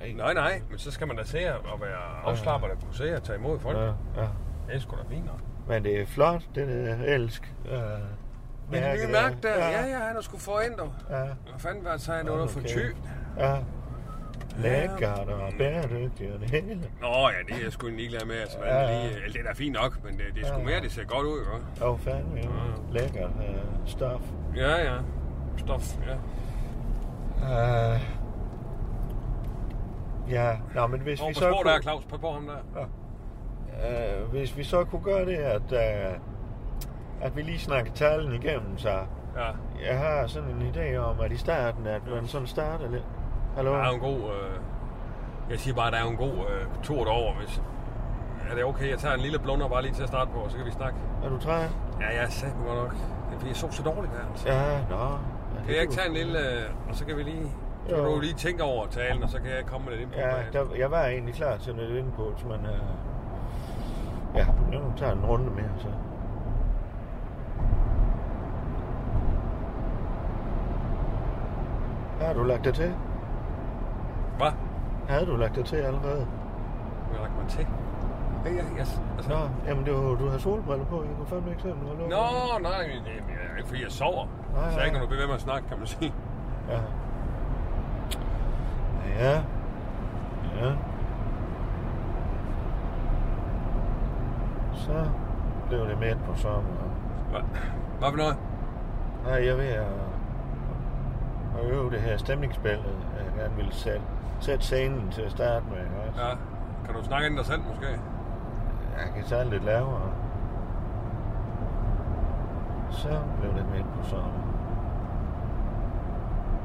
Speaker 5: Øh,
Speaker 6: Nej, nej, men så skal man da se at at være afslappet og kunne se og tage imod folk.
Speaker 5: Ja,
Speaker 6: Ja.
Speaker 5: ja.
Speaker 6: Det er sgu da fint nok.
Speaker 5: Men det er flot, det der elsk. Uh,
Speaker 6: Men det nye mærke der, ja, ja, han har sgu få ind, dog.
Speaker 5: ja.
Speaker 6: Hvad fanden var det, så han under for
Speaker 5: okay.
Speaker 6: ty?
Speaker 5: ja. Lækkert og bæredygtigt og det hele.
Speaker 6: Nå ja, det er jeg sgu egentlig ligeglad med. Altså,
Speaker 5: Ja,
Speaker 6: ja.
Speaker 5: ja.
Speaker 6: lige, eller det er da fint nok, men det, det er sgu mere, det ser godt ud, jo.
Speaker 5: Åh, oh, fandme. Ja. Lækkert uh, stof.
Speaker 6: Ja, ja. Stof, ja.
Speaker 5: Uh, ja, Nå, men hvis
Speaker 6: Over
Speaker 5: vi
Speaker 6: på
Speaker 5: så
Speaker 6: spor
Speaker 5: kunne,
Speaker 6: der, Claus. Pas på ham der.
Speaker 5: øh, hvis vi så kunne gøre det, at, øh, at vi lige snakker talen igennem, så
Speaker 6: Ja,
Speaker 5: jeg har sådan en idé om, at i starten, at man sådan starter lidt. Hallo?
Speaker 6: der er jo en god... Øh, jeg siger bare, der er jo en god øh, tur derover, hvis... Er det okay, jeg tager en lille blunder bare lige til at starte på, og så kan vi snakke?
Speaker 5: Er du træt?
Speaker 6: Ja, jeg sagde godt nok. Det er fordi, jeg sov så dårligt der, altså.
Speaker 5: Ja, nå. Ja,
Speaker 6: Kan jeg ikke
Speaker 5: du-
Speaker 6: tage en lille, øh, og så kan vi lige, så kan
Speaker 5: Jo.
Speaker 6: du lige tænke over talen, og så kan jeg komme med lidt input.
Speaker 5: Ja,
Speaker 6: bag.
Speaker 5: der, jeg var egentlig klar til lidt input, men... Øh, ja, nu tager jeg en runde mere, så. Har du lagt dig til?
Speaker 6: Hvad?
Speaker 5: Havde du lagt dig til allerede?
Speaker 6: Nu har jeg lagt mig til. Ja, ja, ja, altså.
Speaker 5: Nå, jamen det var, du har solbriller på. Jeg kunne fandme ikke se, om du har lukket.
Speaker 6: Nå, nej, men det er ikke fordi, jeg sover.
Speaker 5: Nej,
Speaker 6: Så jeg
Speaker 5: nej.
Speaker 6: kan du blive ved med at snakke, kan man sige.
Speaker 5: Ja. Ja. Ja. Så blev det midt på sommeren.
Speaker 6: Hvad, hvad for noget?
Speaker 5: Nej, jeg vil at, at øve det her stemningsbillede, jeg gerne ville sætte, sætte scenen til at starte med. Ikke? også?
Speaker 6: Ja, kan du snakke ind dig selv måske?
Speaker 5: Jeg kan tage lidt lavere. Så blev det midt på sommeren.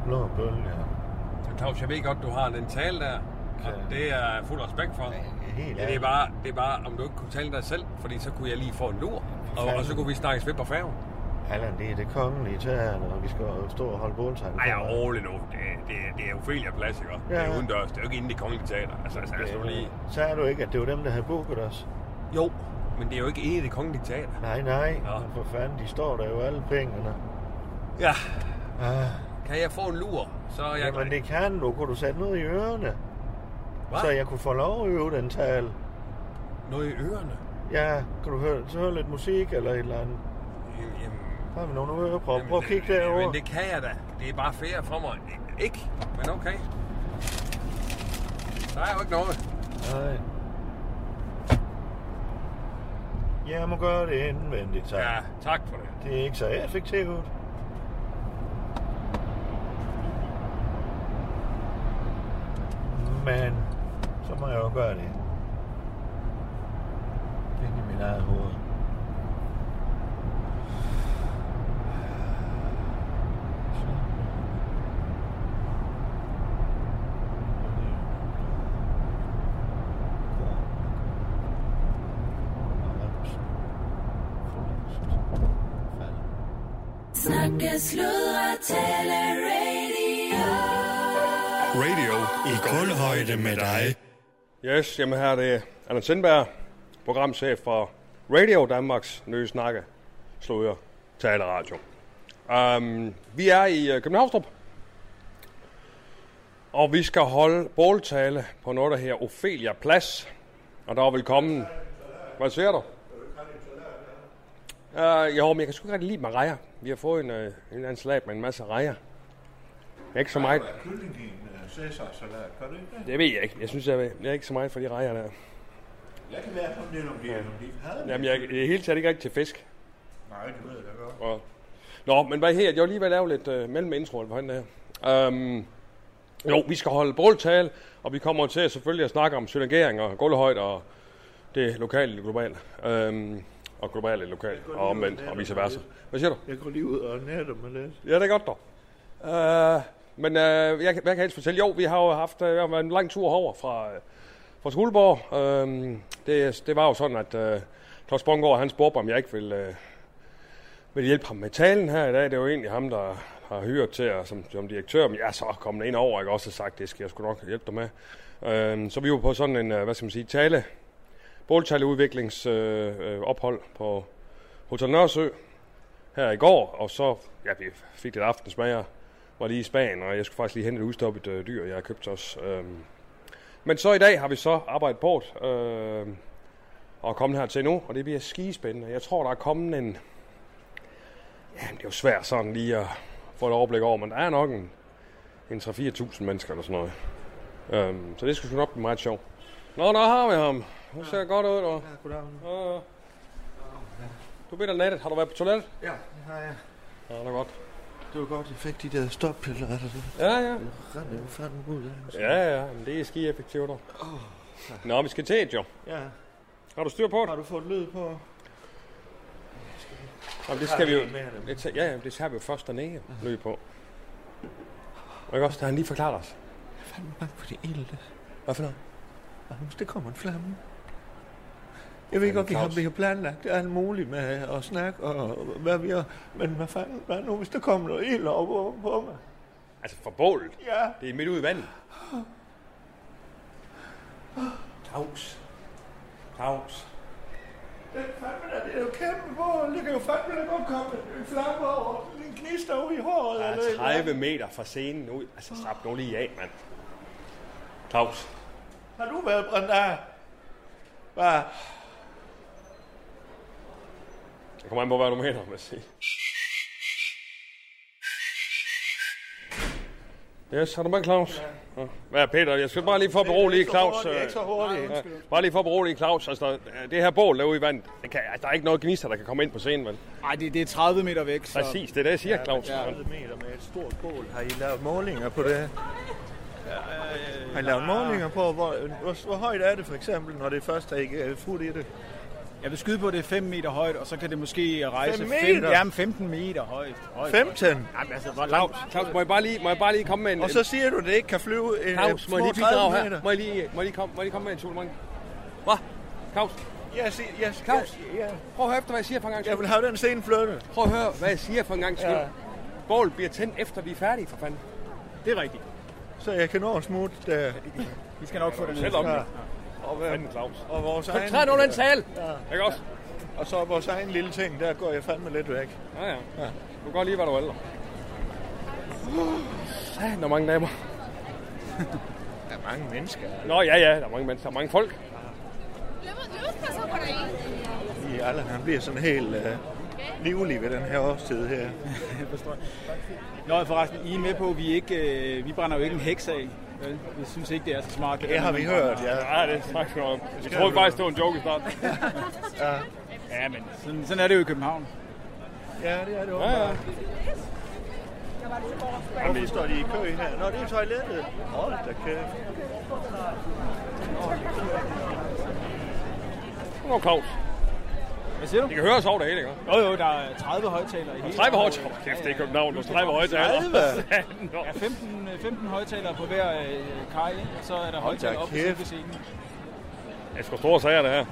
Speaker 5: Blå bølger.
Speaker 6: Så Claus, jeg ved godt, du har den tale der, og
Speaker 5: Ja.
Speaker 6: det er jeg fuld respekt for.
Speaker 5: Helt
Speaker 6: Ja, det, er
Speaker 5: ærligt.
Speaker 6: bare, det er bare, om du ikke kunne tale dig selv, fordi så kunne jeg lige få en lur, og, og så kunne vi snakkes ved på færgen.
Speaker 5: Allan, det er det kongelige teater, og vi skal jo stå og holde båltegn.
Speaker 6: Ej, jeg er rolig nu. Det, det, det er Ophelia Plads, ikke? Ja. Det
Speaker 5: Ja.
Speaker 6: er udendørs. Det er jo ikke inde i det kongelige teater. Altså, altså, altså, lige...
Speaker 5: Så er du ikke, at det var dem, der havde booket os.
Speaker 6: Jo, men det er jo ikke inde i det kongelige teater.
Speaker 5: Nej, nej.
Speaker 6: Nå.
Speaker 5: Men for fanden, de står der jo alle pengene.
Speaker 6: Ja,
Speaker 5: Ah,
Speaker 6: kan jeg få en lur, så er jeg...
Speaker 5: Jamen, det kan du. Kunne du sætte noget i ørerne?
Speaker 6: Hvad?
Speaker 5: Så jeg kunne få lov at øve den tale.
Speaker 6: Noget i ørerne?
Speaker 5: Ja, kan du høre, så høre lidt musik eller et eller andet?
Speaker 6: Jamen,
Speaker 5: Har vi nogle ørepropper?
Speaker 6: jamen,
Speaker 5: Prøv at kigge
Speaker 6: det-
Speaker 5: derovre.
Speaker 6: Men det kan jeg da. Det er bare fair for mig. Ikke, men okay. Der er jo ikke noget.
Speaker 5: Nej. Jeg må gøre det indvendigt, tak.
Speaker 6: Ja, tak for det.
Speaker 5: Det er ikke så effektivt. Men så må jeg jo gøre det. Ind i mit eget hoved. Fald.
Speaker 2: Snakke, sludre, tale, radio.
Speaker 3: Radio i kulhøjde med dig.
Speaker 6: Yes, jamen her er det Anders Sindberg, programchef for Radio Danmarks nye snakke, sløjer, taler radio. Um, vi er i øh, Københavnstrup, og vi skal holde båltale på noget, der her Ophelia Plads. Og der er velkommen Hvad ser du? Uh, jo, men jeg kan sgu ikke rigtig lide med rejer. Vi har fået en, uh, en eller anden salat med en masse rejer. Ikke så meget.
Speaker 5: Kylling i en uh, Cæsar-salat, gør det ikke det?
Speaker 6: Det ved jeg ikke. Jeg synes, jeg, ved- jeg er ikke så meget for de rejer der.
Speaker 5: Jeg kan være sådan lidt om det, om de havde det.
Speaker 6: Jamen, jeg, jeg er helt taget ikke rigtig til fisk.
Speaker 5: Nej, det ved jeg da godt.
Speaker 6: Og... Nå, men hvad her? Jeg var lige ved at lave lidt øh, mellemintro på den her. Um, jo, vi skal holde båltale, og vi kommer til selvfølgelig at snakke om synergering og gulvhøjde og det lokale og globale. Um, og globale og lokale, og omvendt, og vice versa. Hvad siger du?
Speaker 5: Jeg går lige ud og nætter mig lidt.
Speaker 6: Ja, det er godt dog. Uh, men uh, jeg, kan- hvad kan jeg helst fortælle? Jo, vi har jo haft uh, vi har været en lang tur over fra, uh, fra Skuldborg. Uh, det, det var jo sådan, at uh, Claus Bongård, han spurgte, om jeg ikke ville, uh, ville hjælpe ham med talen her i dag. Det er jo egentlig ham, der har hyret til at, som, som direktør. Men jeg er så kommet ind over, ikke? også har sagt, det skal jeg sgu nok hjælpe dig med. Uh, så vi var på sådan en, uh, hvad skal man sige, tale, båltaleudviklingsophold uh, uh, ophold på Hotel Nørresø her i går, og så ja, vi fik lidt aftensmager, var lige i Spanien, og jeg skulle faktisk lige hente et udstoppet øh, dyr, jeg har købt os. Øhm. Men så i dag har vi så arbejdet på det, øh, og er kommet hertil nu, og det bliver skispændende. Jeg tror, der er kommet en... Jamen, det er jo svært sådan lige at få et overblik over, men der er nok en, en 3-4.000 mennesker eller sådan noget. Øhm, så det skal sgu nok blive meget sjovt. Nå, der har vi ham. Hun ser godt ud, og...
Speaker 5: Ja, goddag.
Speaker 6: Ja, ja. Du bliver nattet. Har du været på toilettet?
Speaker 5: Ja, det har jeg.
Speaker 6: Ja, det er godt.
Speaker 5: Det var godt, at jeg fik de der stoppiller. Altså.
Speaker 6: Ja, ja.
Speaker 5: Rende jo fanden ud af. altså.
Speaker 6: Ja, ja, men det er ski effektivt. Oh, Nå, vi skal til et, jo.
Speaker 5: Ja.
Speaker 6: Har du styr på det?
Speaker 5: Har du fået lyd på?
Speaker 6: Jamen, det skal vi jo...
Speaker 5: Med dem.
Speaker 6: Det tager, ja, ja, det tager vi jo først dernede løb på. Og ikke også, der har han lige forklaret os.
Speaker 5: Jeg er fandme bange for de ilde.
Speaker 6: Hvad for noget?
Speaker 5: Magnus, der kommer en flamme. Jeg ved godt, vi har,
Speaker 6: Claus.
Speaker 5: vi har planlagt alt muligt med at snakke og hvad vi har. Men hvad fanden, hvad nu, hvis der kommer noget ild op over på mig?
Speaker 6: Altså, for bålet.
Speaker 5: Ja,
Speaker 6: Det er midt ude i vandet. Claus. Claus.
Speaker 5: det er fandme da, det er jo kæmpe bål. Det kan jo fandme da godt komme en flamme over. En gnister over i håret.
Speaker 6: Der
Speaker 5: eller et
Speaker 6: er
Speaker 5: eller andet.
Speaker 6: 30 meter fra scenen ud. Altså, slap nu lige af, mand. Claus.
Speaker 5: Har du været brændt af? Hvad?
Speaker 6: Det kommer an på, hvad du mener, må jeg sige. Yes, har du med, Claus? Ja. Hvad er Peter? Jeg skal bare lige for at berolige Claus.
Speaker 5: Det er ikke så
Speaker 6: øh,
Speaker 5: hurtigt.
Speaker 6: ja, bare lige for at berolige Claus. Altså, der- det her bål derude i vandet, det kan, altså, der er ikke noget gnister, der kan komme ind på scenen, vel?
Speaker 10: Nej, det, det er 30 meter væk, så...
Speaker 6: Præcis, det er det, jeg siger, Claus. Ja.
Speaker 5: 30 meter med et stort bål. Har I lavet målinger på det? Har I lavet målinger på, hvor, hvor, hvor højt er det for eksempel, når det først er ikke er fuldt i det?
Speaker 10: Jeg vil skyde på, at det er 5 meter højt, og så kan det måske rejse...
Speaker 5: Fem
Speaker 10: fem-
Speaker 5: meter?
Speaker 10: Jamen, 15 meter højt. højt.
Speaker 5: 15?
Speaker 10: Jamen, altså, hvor langt...
Speaker 6: Claus, Claus, må jeg bare lige, må jeg bare lige komme med en...
Speaker 5: Og så siger du, at det ikke kan flyve en øh,
Speaker 6: Claus, må jeg lige bidrage her? Må jeg lige, må jeg lige, komme, må jeg lige komme med en supplement? Hvad? Claus,
Speaker 5: Jeg, siger, jeg,
Speaker 6: Claus?
Speaker 5: jeg, jeg,
Speaker 6: prøv at høre efter, hvad jeg siger for en gang.
Speaker 5: jeg vil have den sten flyttet.
Speaker 6: Prøv at høre, hvad jeg siger for en gang skyld.
Speaker 5: Ja.
Speaker 6: Ja. Bål bliver tændt efter, vi er færdige, for fanden.
Speaker 10: Det er rigtigt.
Speaker 5: Så jeg kan nå en smut der.
Speaker 10: Vi skal nok få det ned.
Speaker 6: Selv om det.
Speaker 5: Og, hvad,
Speaker 6: Claus.
Speaker 5: og vores egen,
Speaker 6: Koncentrer nu den tale. Ja. Ikke også?
Speaker 5: og så vores egen lille ting, der går jeg fandme lidt væk.
Speaker 6: Ja, ja. ja. Du kan godt lide, hvad du vælger. Ja, der er mange damer.
Speaker 5: Der er mange mennesker.
Speaker 6: Nå, ja, ja, der er mange mennesker. Der er mange folk.
Speaker 5: I alle, han bliver sådan helt uh, livlig ved den her årstid her.
Speaker 10: Nå, forresten, I er med på, at vi, ikke, øh, vi brænder jo ikke en heks af. Vel? Vi synes ikke, det er så smart.
Speaker 5: Det har vi hørt, ja.
Speaker 6: Ja, det er faktisk noget. Jeg troede faktisk, det var en joke i starten.
Speaker 10: Ja, men sådan, sådan er det jo i København.
Speaker 5: Ja, det er det
Speaker 6: Ja, ja.
Speaker 5: åbenbart. Hvorfor står de i kø her? Nå, det er toilettet. Hold da kæft.
Speaker 6: Nå, Claus.
Speaker 10: Hvad siger du?
Speaker 6: Det kan høres over det hele, ikke?
Speaker 10: Jo, jo, der er 30 højtalere i hele...
Speaker 6: 30 højtaler. Kæft, det er København. Du 30 højtaler. 30?
Speaker 10: Ja, 15, øh, 15 højtalere på hver øh, kaj, ikke? og så er der højtaler op på
Speaker 5: kæft.
Speaker 10: selve scenen.
Speaker 6: Jeg skal store sager, det her.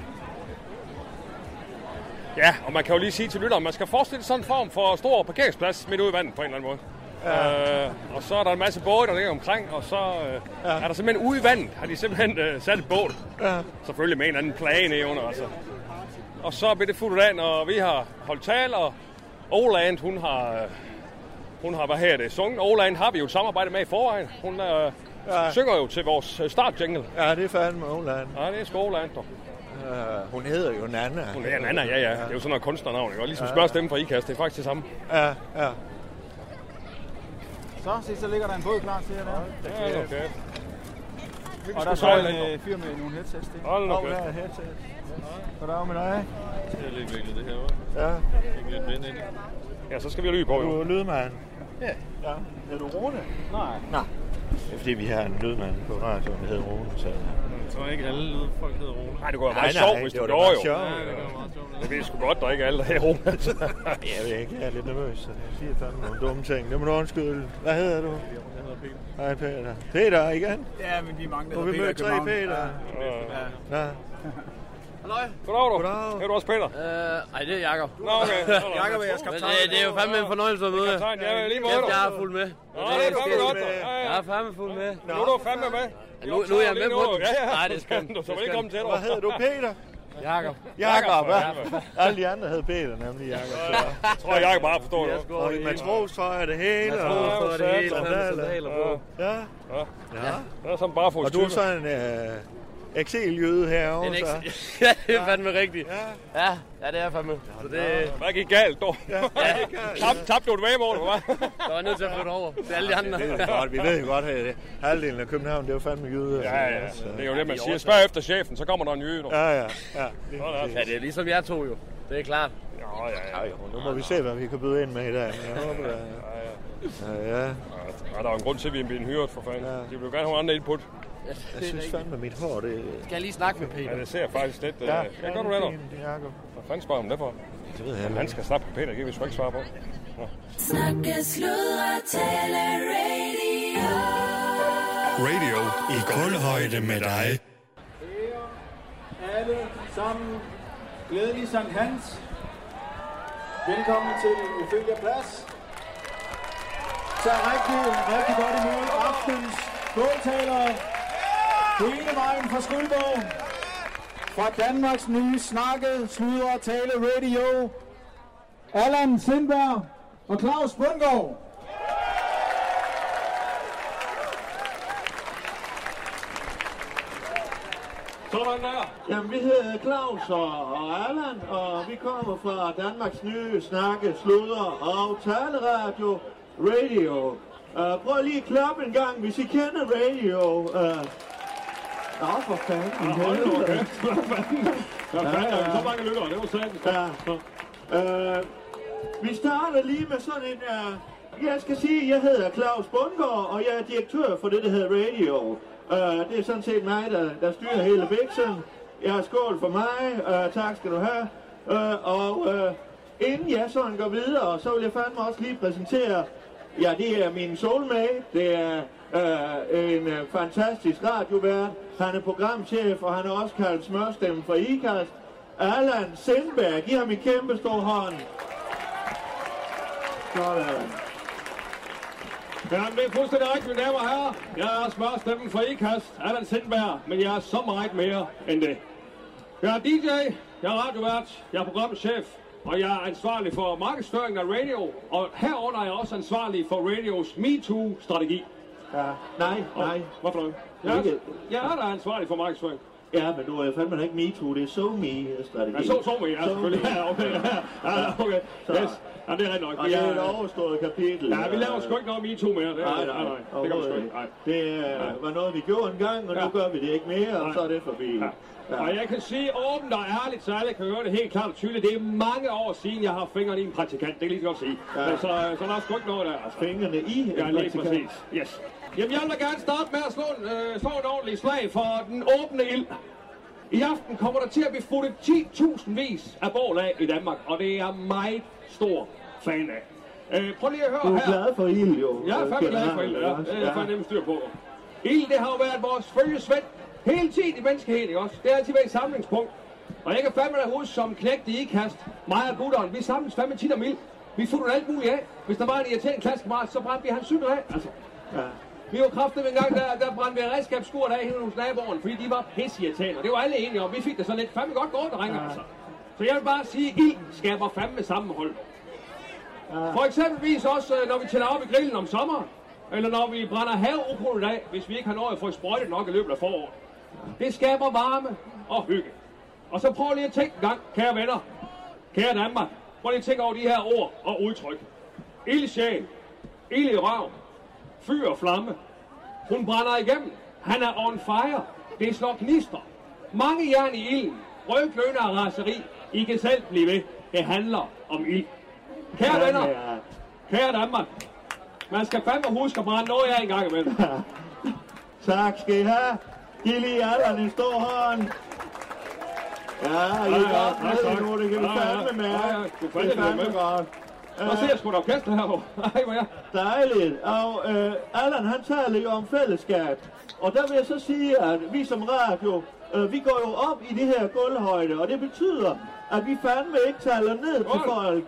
Speaker 6: Ja, og man kan jo lige sige til lytteren, man skal forestille sig sådan en form for stor parkeringsplads midt ude i vandet på en eller anden måde. Ja. Øh, og så er der en masse både, der ligger omkring, og så øh, ja. er der simpelthen ude i vandet, har de simpelthen øh, sat et bål. Ja. Selvfølgelig med en eller anden plage nede under, altså. Og så bliver det fuldt af, når vi har holdt tale, og Oland, hun har, øh, hun har, hvad her det, sunget. Oland har vi jo et samarbejde med i forvejen. Hun øh, ja. synger jo til vores øh, startjingle.
Speaker 5: Ja, det er fandme Oland.
Speaker 6: Ja, det er skoleland, dog.
Speaker 5: Øh, hun hedder jo Nana.
Speaker 6: Hun hedder Nana, ja, ja. Det er jo sådan noget kunstnernavn, ikke? Og ligesom spørgstemmen fra IKAST, det er faktisk det samme.
Speaker 5: Ja, ja.
Speaker 11: Så, se, så ligger der en båd klar til jer der.
Speaker 6: Ja, det er okay.
Speaker 11: Og der er så en øh, fyr med nogle headsets. Det.
Speaker 6: Hold nu
Speaker 11: Hov,
Speaker 6: kæft.
Speaker 11: der er headset. Goddag med dig.
Speaker 12: Det er lidt vigtigt, det her,
Speaker 5: Ja.
Speaker 12: Ikke lidt vind ind.
Speaker 6: Ja, så skal vi have lyd på,
Speaker 5: Du er
Speaker 6: jo.
Speaker 5: lydmand.
Speaker 11: Ja. ja. Er du Rune? Nej.
Speaker 5: Nej. Det er fordi, vi har en lydmand på radioen, der hedder Rune. Så...
Speaker 12: Jeg tror ikke, alle lyde folk hedder Rune.
Speaker 6: Nej, det kunne være
Speaker 5: Nej,
Speaker 6: meget
Speaker 5: nej,
Speaker 6: sjovt, hvis
Speaker 5: det
Speaker 6: du
Speaker 5: var da
Speaker 6: gjorde,
Speaker 5: meget sjovt,
Speaker 6: jo. Ja,
Speaker 5: ja.
Speaker 6: det kunne være meget sjovt. Jeg ved sgu godt, der er ikke alle, der er her, altså.
Speaker 5: Jeg ved ikke, jeg er lidt nervøs, så jeg siger fandme nogle dumme ting. Det må du undskylde. Hvad hedder du?
Speaker 11: Jeg hedder Peter.
Speaker 5: Hej Peter. Peter igen?
Speaker 11: Ja, men vi er mange, der
Speaker 5: Hvor vi mødte tre Peter.
Speaker 11: Ja. Ja.
Speaker 5: Ja.
Speaker 1: Halløj.
Speaker 6: Goddag, du. Goddag. Er du også Peter?
Speaker 1: Øh, ej, det er Jakob.
Speaker 6: Nå, okay.
Speaker 1: Jakob er jeres kaptajn. Det, det er jo fandme en fornøjelse at møde jer.
Speaker 6: Kaptajn, ja, lige måde,
Speaker 1: Kæft,
Speaker 6: du.
Speaker 1: Jeg er fuld med.
Speaker 6: Nå, det er fandme godt, du. Ja, ja.
Speaker 1: Jeg er fandme fuld med.
Speaker 6: Nu er du fandme med.
Speaker 1: Nu, nu er jeg med på den.
Speaker 6: Ja, ja.
Speaker 1: Nej, det er skønt.
Speaker 6: Du
Speaker 1: Det
Speaker 6: så
Speaker 1: er
Speaker 6: velkommen til
Speaker 1: skønt.
Speaker 6: dig.
Speaker 5: Hvad hedder du? Peter?
Speaker 1: Jakob.
Speaker 5: Jakob,
Speaker 6: Jakob.
Speaker 5: ja. Alle de andre hed Peter, nemlig Jakob. så-
Speaker 6: Jeg tror, Jakob bare forstår det.
Speaker 5: Og i matros, så er det hele.
Speaker 6: Matros, så er det hele,
Speaker 5: og-
Speaker 6: fandme sandaler på.
Speaker 5: Ja. Ja.
Speaker 6: Ja.
Speaker 5: Ja.
Speaker 6: Der er sådan bare fået
Speaker 5: Og du er sådan en øh, eksiljøde herovre.
Speaker 1: En
Speaker 5: så-
Speaker 1: eks- ja, det er fandme rigtigt. Ja, ja det er fandme. Så det,
Speaker 6: Hvad gik galt, dog? Tab, tabte du et vægemål, eller hvad?
Speaker 1: jeg var nødt til at flytte over til alle de andre.
Speaker 5: Det er godt. Vi ved jo godt, at øh, halvdelen af København, det er jo fandme jyde.
Speaker 6: Ja, ja. Det er jo det, man siger. Spørg efter chefen, så kommer der en jøde.
Speaker 5: Ja, ja, ja.
Speaker 1: Ja, det er ligesom jeg to jo. Det er klart.
Speaker 6: Ja, ja, ja.
Speaker 5: Nu må vi se, hvad vi kan byde ind med i dag. Jeg håber, det er- ja, ja.
Speaker 6: Ja, der er jo en grund til, at vi er blevet hyret, for fanden. De vil jo gerne have andre input.
Speaker 5: Jeg synes fandme, mit hår, det...
Speaker 1: Skal jeg lige snakke med Peter?
Speaker 6: Ja, det ser faktisk lidt... øh,
Speaker 5: Ja,
Speaker 6: ja, gør du det, dog?
Speaker 5: Jakob.
Speaker 6: Hvad fanden spørger om det for?
Speaker 5: Det ved jeg
Speaker 6: Jamen,
Speaker 5: heller
Speaker 6: Han skal snakke med Peter, det kan vi sgu ikke svare på. Nå.
Speaker 2: Snakke, sludre, tale, radio.
Speaker 10: Radio i kulhøjde med dig.
Speaker 11: Alle sammen. Glædelig Sankt Hans. Velkommen til Ophelia Plads. Så rigtig, rigtig godt imod aftens bådtalere. På ene vejen fra Skuldborg. Fra Danmarks nye snakke, sludre og tale radio. Allan Sindberg og Claus Bundgaard.
Speaker 6: Sådan der.
Speaker 5: Jamen, vi hedder Claus og, og Allan, og vi kommer fra Danmarks nye snakke, sludder og taleradio, radio. Uh, prøv lige at klappe en gang, hvis I kender radio. Uh, Nå, for fanden.
Speaker 6: Hold nu kæft. Der
Speaker 5: Ja, ja.
Speaker 6: er så mange lykker, det var sandt.
Speaker 5: Ja. Øh, vi starter lige med sådan en... Øh, jeg skal sige, at jeg hedder Claus Bundgaard, og jeg er direktør for det, der hedder Radio. Øh, det er sådan set mig, der, der styrer hele biksen. Jeg har skål for mig. Øh, tak skal du have. Øh, og øh, inden jeg sådan går videre, så vil jeg fandme også lige præsentere... Ja, det er min soulmate. Det er øh, en øh, fantastisk radiovært. Han er programchef, og han er også kaldt smørstemmen for IKAST. Allan Sindberg, giv ham en kæmpe stor hånd. Sådan.
Speaker 6: Ja, men det er fuldstændig rigtigt, mine damer og herrer. Jeg er smørstemmen for Ikast, Allan Sindberg, men jeg er så meget mere end det. Jeg er DJ, jeg er radiovært, jeg er programchef, og jeg er ansvarlig for markedsføringen af radio, og herunder er jeg også ansvarlig for radios MeToo-strategi.
Speaker 5: Ja, nej, nej.
Speaker 6: Hvad for noget? Jeg, er- jeg er da ansvarlig for markedsføring.
Speaker 5: Ja, men du er fandme da ikke MeToo, det er so me strategi.
Speaker 6: Ja, så så mig, ja, selvfølgelig. Ja, okay. Ja, okay. Yes. Ja, det er rigtig nok.
Speaker 5: Og
Speaker 6: Vi
Speaker 5: det er et
Speaker 6: er,
Speaker 5: overstået kapitel.
Speaker 6: ja, vi laver sgu ikke noget med MeToo mere. Det,
Speaker 5: Nej, nej,
Speaker 6: nej, Det gør vi sgu ikke. Nej.
Speaker 5: Det øh, var noget, vi gjorde engang, og nu gør vi det ikke mere, og så er det forbi.
Speaker 6: Ja. Og jeg kan sige åbent og ærligt, så alle kan høre det helt klart og tydeligt. Det er mange år siden, jeg har haft fingrene i en praktikant. Det kan jeg lige så godt sige.
Speaker 5: Ja.
Speaker 6: Ja. Så, øh, så der er sgu ikke noget der. Altså.
Speaker 5: Fingrene i en
Speaker 6: Ja, lige
Speaker 5: praktikant.
Speaker 6: præcis. Yes. Jamen, jeg vil da gerne starte med at slå, en, øh, slå et ordentligt slag for den åbne ild. I aften kommer der til at blive fuldt 10.000 vis af bål af i Danmark, og det er jeg meget stor fan af. Øh, prøv lige at høre
Speaker 5: Du er
Speaker 6: her.
Speaker 5: glad for ild, jo.
Speaker 6: Jeg er fandme glad for ild, ja. Det er fandme nemt styr på. Ild, det har jo været vores følgesvend hele tiden i menneskeheden, ikke også? Det har altid været et samlingspunkt. Og jeg kan fandme da huske som knægt i ikast, mig og gutteren, vi samles fandme tit om ild. Vi fulgte alt muligt af. Hvis der var en irriterende klassekammerat, så brændte vi hans cykel af. Altså,
Speaker 5: Ja.
Speaker 6: vi var kraftedeme en gang, der, der brændte vi redskabsskuret af hende hos naboerne, fordi de var pisseirriterende. Det var alle enige om. Vi fik det sådan lidt fandme godt gået, drenge, altså. Så jeg vil bare sige, ild skaber fandme sammenhold. For eksempelvis også, øh, når vi tænder op i grillen om sommeren, eller når vi brænder havukrudt af, hvis vi ikke har nået at få sprøjtet nok i løbet af foråret. Det skaber varme og hygge.
Speaker 13: Og så prøv lige at tænke en gang, kære venner, kære Danmark. Prøv lige at tænke over de her ord og udtryk. Ildsjæl, ild i røven, fyr og flamme. Hun brænder igennem. Han er on fire. Det slår knister. Mange jern i ilden. Rødglønner og raseri. I kan selv blive ved. Det handler om ild. Kære venner, kære Danmark. Man skal fandme huske at brænde noget af en gang imellem.
Speaker 5: Tak skal I have. Giv lige alderen en stor hånd. Ja, I er godt med nu, det kan vi fandme mærke.
Speaker 13: Du fandt det med.
Speaker 5: godt.
Speaker 13: Og se, jeg sgu da orkester herovre. Ej, hvor jeg...
Speaker 5: Dejligt. Og øh, Allan, han taler jo om fællesskab. Og der vil jeg så sige, at vi som radio, øh, vi går jo op i det her gulvhøjde. Og det betyder, at vi fandme ikke taler ned til folk.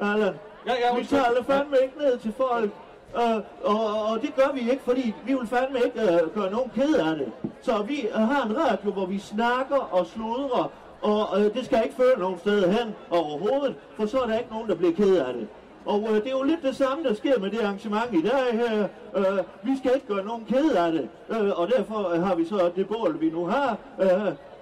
Speaker 5: Allan,
Speaker 13: ja, ja,
Speaker 5: vi
Speaker 13: undskyld.
Speaker 5: taler fandme ikke ned til folk. Øh, og, og det gør vi ikke, fordi vi vil fandme ikke øh, gøre nogen ked af det. Så vi øh, har en radio, hvor vi snakker og sludrer, og øh, det skal ikke føre nogen sted hen overhovedet, for så er der ikke nogen, der bliver ked af det. Og øh, det er jo lidt det samme, der sker med det arrangement i dag her. Øh, vi skal ikke gøre nogen ked af det, øh, og derfor øh, har vi så det bål, vi nu har. Øh,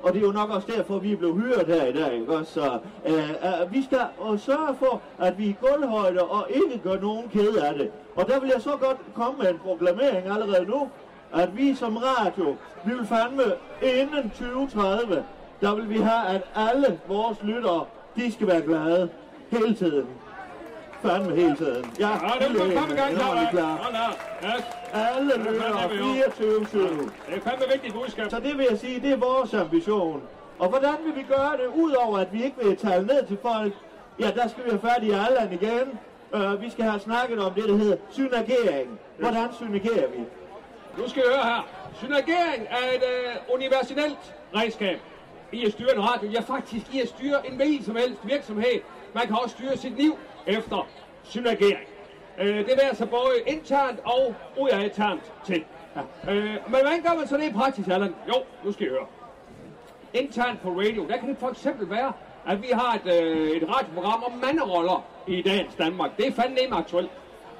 Speaker 5: og det er jo nok også derfor, vi er blevet hyret her i dag, ikke også? Så øh, øh, vi skal øh, sørge for, at vi er i gulvhøjde og ikke gør nogen ked af det. Og der vil jeg så godt komme med en proklamering allerede nu, at vi som radio, vi vil fandme inden 2030, der vil vi have, at alle vores lyttere, de skal være glade hele tiden. Fandme hele tiden. Ja,
Speaker 13: Ja, det er godt. Kom i gang,
Speaker 5: Nu er vi klar.
Speaker 13: Sådan der. Ja.
Speaker 5: Alle
Speaker 13: Det er
Speaker 5: lytter
Speaker 13: fandme, jo.
Speaker 5: 24-7.
Speaker 13: Det er fandme vigtigt budskab.
Speaker 5: Så det vil jeg sige, det er vores ambition. Og hvordan vil vi gøre det, udover at vi ikke vil tale ned til folk? Ja, der skal vi have fat i Allan igen. Uh, vi skal have snakket om det, der hedder synergering. Hvordan synergerer vi?
Speaker 13: Nu skal I høre her. Synergering er et øh, universelt redskab. I at styre en radio. Ja, faktisk i at styre en hvilken som helst virksomhed. Man kan også styre sit liv efter synergering. Øh, det er altså både internt og udadternt ting. Øh, men hvordan gør man så det i praksis, Allan? Jo, nu skal I høre. Internt på radio, der kan det for eksempel være, at vi har et, øh, et radioprogram om manderoller i dagens Danmark. Det er fandme ikke aktuelt.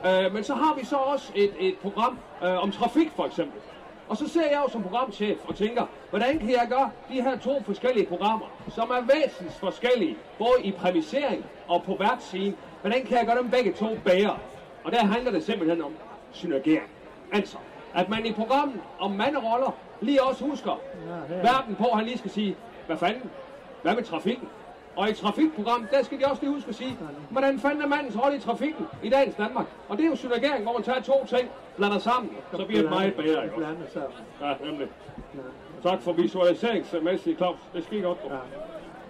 Speaker 13: Øh, men så har vi så også et, et program øh, om trafik, for eksempel. Og så ser jeg jo som programchef og tænker, hvordan kan jeg gøre de her to forskellige programmer, som er væsentligt forskellige, både i præmissering og på værtssiden, hvordan kan jeg gøre dem begge to bedre? Og der handler det simpelthen om synergering. Altså, at man i programmet om manderoller lige også husker verden på, at han lige skal sige, hvad fanden, hvad med trafikken? Og i trafikprogrammet, der skal de også lige huske at sige, hvordan fanden er mandens rolle i trafikken i dagens Danmark? Og det er jo synergering, hvor man tager to ting, blander sammen, så bliver det meget bedre. Ikke? også?
Speaker 5: Blande sammen.
Speaker 13: Ja, nemlig. Tak for visualiseringsmæssigt, Claus. Det skal I godt på.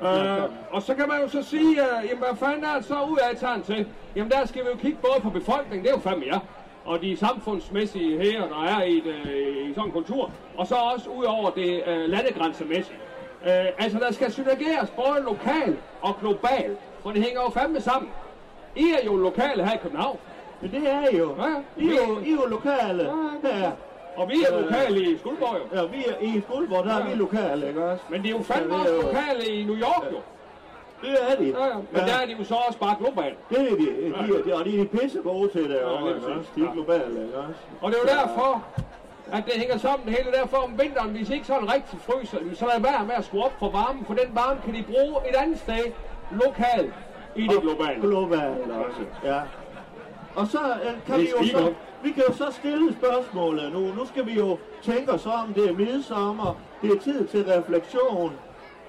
Speaker 13: Øh, og så kan man jo så sige, øh, jamen hvad fanden er det så ud af tager til? Jamen der skal vi jo kigge både på befolkningen, det er jo fandme jer, og de samfundsmæssige her, der er i, et, øh, i sådan en kultur, og så også ud over det øh, landegrænsemæssige. Øh, altså der skal synergeres både lokalt og globalt, for det hænger jo fandme sammen. I er jo lokale her i København.
Speaker 5: Men det er I jo.
Speaker 13: Ja,
Speaker 5: I er jo, I er jo lokale. Ja.
Speaker 13: Og vi er lokale i Skuldborg jo.
Speaker 5: Ja, vi er i Skuldborg, der er
Speaker 13: Ja.
Speaker 5: vi lokale, ikke også?
Speaker 13: Men det er jo fandme
Speaker 5: Ja, det
Speaker 13: også
Speaker 5: er jo-
Speaker 13: lokale i New York jo.
Speaker 5: Det er de.
Speaker 13: Ja, ja. Men
Speaker 5: Ja.
Speaker 13: der er de jo så også bare globalt.
Speaker 5: Det er de, de, de, og de er pisse gode til det,
Speaker 13: Ja,
Speaker 5: og
Speaker 13: lige
Speaker 5: ikke også?
Speaker 13: præcis.
Speaker 5: De er globale, ikke også?
Speaker 13: Og det er jo derfor, at det hænger sammen det hele derfor om vinteren, hvis I ikke sådan rigtig fryser, jamen, så lad være med at skrue op for varmen, for den varme kan de bruge et andet sted, lokalt, i det globale.
Speaker 5: Globalt også, ja. Og så øh, kan
Speaker 13: Det
Speaker 5: vi jo
Speaker 13: stiger.
Speaker 5: så, vi kan jo så stille spørgsmålet nu. Nu skal vi jo tænke os om, det er midsommer, det er tid til refleksion.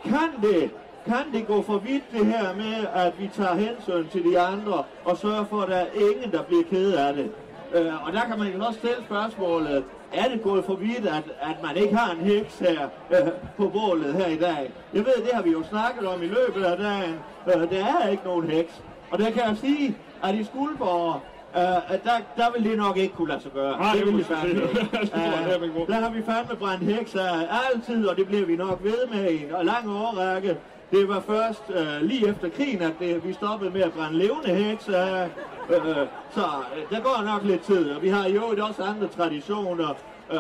Speaker 5: Kan det, kan det gå for vidt det her med, at vi tager hensyn til de andre og sørger for, at der er ingen, der bliver ked af det? Øh, og der kan man jo også stille spørgsmålet, er det gået for vidt, at, at man ikke har en heks her øh, på bålet her i dag? Jeg ved, det har vi jo snakket om i løbet af dagen. Øh, der er ikke nogen heks. Og der kan jeg sige, at i Skuldborg, øh, at der, der vil det nok ikke kunne lade sig gøre.
Speaker 13: Nej, det
Speaker 5: vil
Speaker 13: må
Speaker 5: vi
Speaker 13: jeg
Speaker 5: fandme
Speaker 13: sige.
Speaker 5: ikke.
Speaker 13: Det tror jeg,
Speaker 5: Øh,
Speaker 13: det er min god.
Speaker 5: Der har vi fandme brændt hekser af altid, og det bliver vi nok ved med i en lang årrække. Det var først øh, lige efter krigen, at det, vi stoppede med at brænde levende hekser af. Øh, øh, så øh, der går nok lidt tid, og vi har jo også andre traditioner. Øh,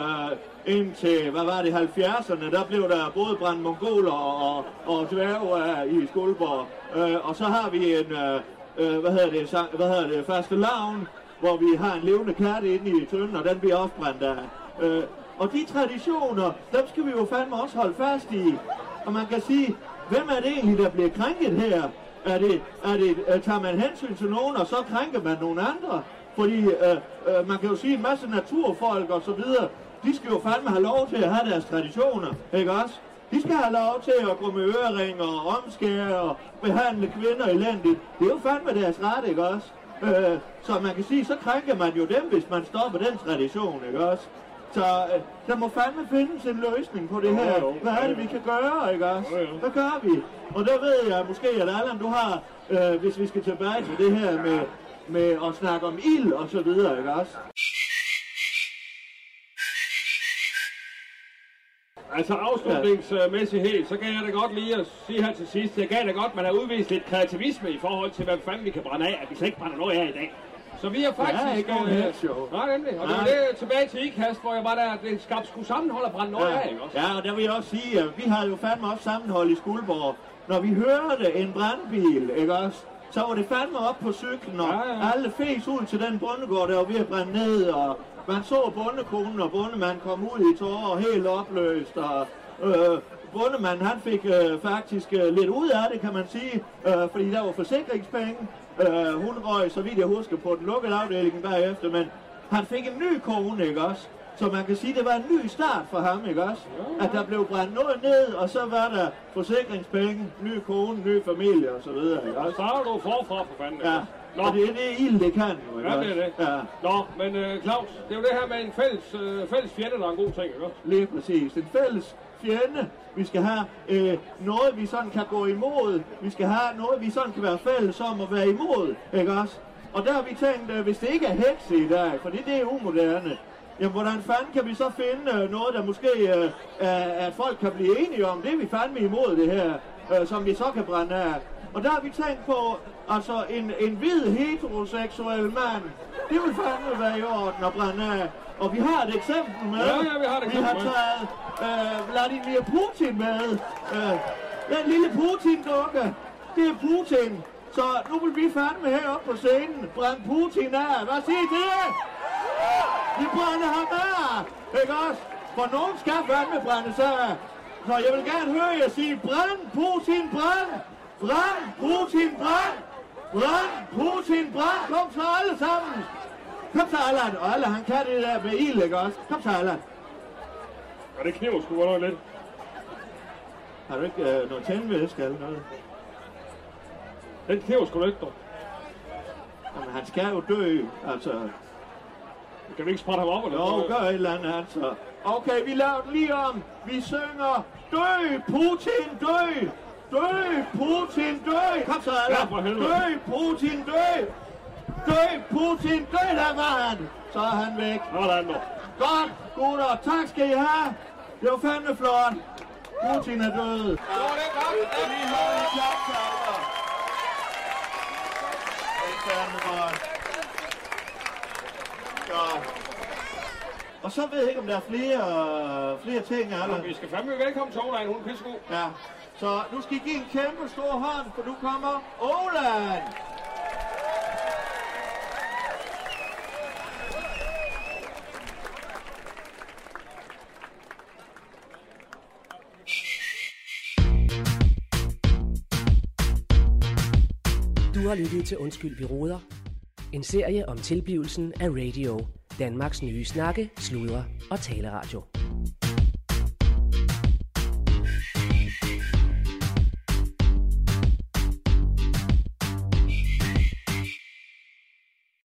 Speaker 5: indtil, hvad var det, 70'erne, der blev der både brændt mongoler og, og, og dværge af i Skuldborg. Øh, og så har vi en, øh, øh, hvad hedder det, sang, hvad hedder det, faste lavn, hvor vi har en levende katte inde i tønden, og den bliver også brændt af. Øh, og de traditioner, dem skal vi jo fandme også holde fast i. Og man kan sige, Hvem er det egentlig, der bliver krænket her? Er det, er det, øh, tager man hensyn til nogen, og så krænker man nogle andre? Fordi øh, øh, man kan jo sige, en masse naturfolk og så videre, de skal jo fandme have lov til at have deres traditioner, ikke også? De skal have lov til at gå med øreringer og omskære og behandle kvinder elendigt. Det er jo fandme deres ret, ikke også? Øh, så man kan sige, så krænker man jo dem, hvis man stopper den tradition, ikke også? Så øh, der må fandme findes en løsning på det
Speaker 14: Jo,
Speaker 5: her.
Speaker 14: jo.
Speaker 5: Hvad er det, vi kan gøre, ikke også? Hvad gør vi? Og der ved jeg måske, at Allan, du har, øh, hvis vi skal tilbage til det her med, med at snakke om ild og så videre, ikke også?
Speaker 13: Altså afslutningsmæssighed, så kan jeg da godt lige at sige her til sidst, jeg kan da godt, man har udvist lidt kreativisme i forhold til, hvad fanden vi kan brænde af, at vi slet ikke brænder noget af i dag. Så vi er faktisk...
Speaker 5: ikke nogen
Speaker 13: øh,
Speaker 5: headshow.
Speaker 13: Nej, nemlig. Og det var
Speaker 5: Nej.
Speaker 13: det tilbage til IKAST, hvor jeg var der, det skabte sgu sammenhold at brænde noget af, ikke også?
Speaker 5: Ja, og der vil jeg også sige, at vi har jo fandme også sammenhold i Skuldborg. Når vi hørte en brandbil, ikke også? Så var det fandme op på cyklen, og ja, ja. alle fes ud til den bondegård, der var ved at brænde ned, og man så bondekonen og bondemanden komme ud i tårer og helt opløst, og øh, bondemanden han fik øh, faktisk øh, lidt ud af det, kan man sige, øh, fordi der var forsikringspenge. Øh, hun røg, så vidt jeg husker, på den lukkede afdeling bagefter, men han fik en ny kone, ikke også? Så man kan sige, det var en ny start for ham, ikke også? At der blev brændt noget ned, og så var der forsikringspenge, ny kone, ny familie og så videre, ikke
Speaker 13: Og
Speaker 5: også?
Speaker 13: starter du forfra for fanden, ikke
Speaker 5: Ja,
Speaker 13: også?
Speaker 5: og det er det ild, det kan jo, ikke
Speaker 13: Ja, det er det.
Speaker 5: Ja,
Speaker 13: Nå, men øh, Claus, det er jo det her med en fælles, øh, fælles fjende, der er en god ting, ikke også?
Speaker 5: lige præcis. En fælles fjende. Vi skal have øh, noget, vi sådan kan gå imod. Vi skal have noget, vi sådan kan være fælles om at være imod, ikke også? Og der har vi tænkt, øh, hvis det ikke er hekse i dag, for det er umoderne, jamen hvordan fanden kan vi så finde øh, noget, der måske øh, er, at folk kan blive enige om? Det er vi fandme imod det her, øh, som vi så kan brænde af. Og der har vi tænkt på, altså en, en hvid heteroseksuel mand, det vil fandme være i orden at brænde af. Og vi har et eksempel med.
Speaker 13: Ja, ja, vi har et
Speaker 5: Vi
Speaker 13: eksempel
Speaker 5: har
Speaker 13: med.
Speaker 5: taget taget altså, øh, Vladimir Putin med. Øh, den lille Putin-dukke, det er Putin. Så nu vil vi fandme heroppe på scenen brænde Putin af. Hvad siger I til det? Vi brænder ham af, ikke også? For nogen skal fandme brændes af. Så jeg vil gerne høre jer sige, brænd Putin, brænd! Brænd Putin, brænd! Brænd Putin, brænd! Kom så alle sammen! Kom så, Allan. Og Allan, han kan det der med ild, ikke også? Kom så, Allan.
Speaker 13: Ja, det kniver sgu godt nok lidt.
Speaker 5: Har du ikke øh, noget tændvæske eller noget?
Speaker 13: Den kniver sgu lidt, dog.
Speaker 5: Jamen, han skal jo dø, altså.
Speaker 13: Kan vi ikke sprætte ham op, eller?
Speaker 5: Jo, gør et eller andet, altså. Okay, vi laver den lige om. Vi synger, dø, Putin, dø! Dø, Putin, dø! Kom så,
Speaker 13: Ja,
Speaker 5: Allan.
Speaker 13: for helvede.
Speaker 5: Dø, Putin, dø! Dø, Putin, dø, der var han! Så er han væk.
Speaker 13: Sådan, dog.
Speaker 5: Godt, gutter. Tak skal I have. Det var fandme flot. Putin er død. Og så ved jeg ikke, om der er flere, flere ting, eller?
Speaker 13: Ja, vi skal fandme velkommen til Ola, hun er pissegod.
Speaker 5: Ja. Så nu skal I give en kæmpe stor hånd, for nu kommer Olan!
Speaker 1: Du har lyttet til Undskyld, vi råder. En serie om tilblivelsen af radio. Danmarks nye snakke, sludre og taleradio.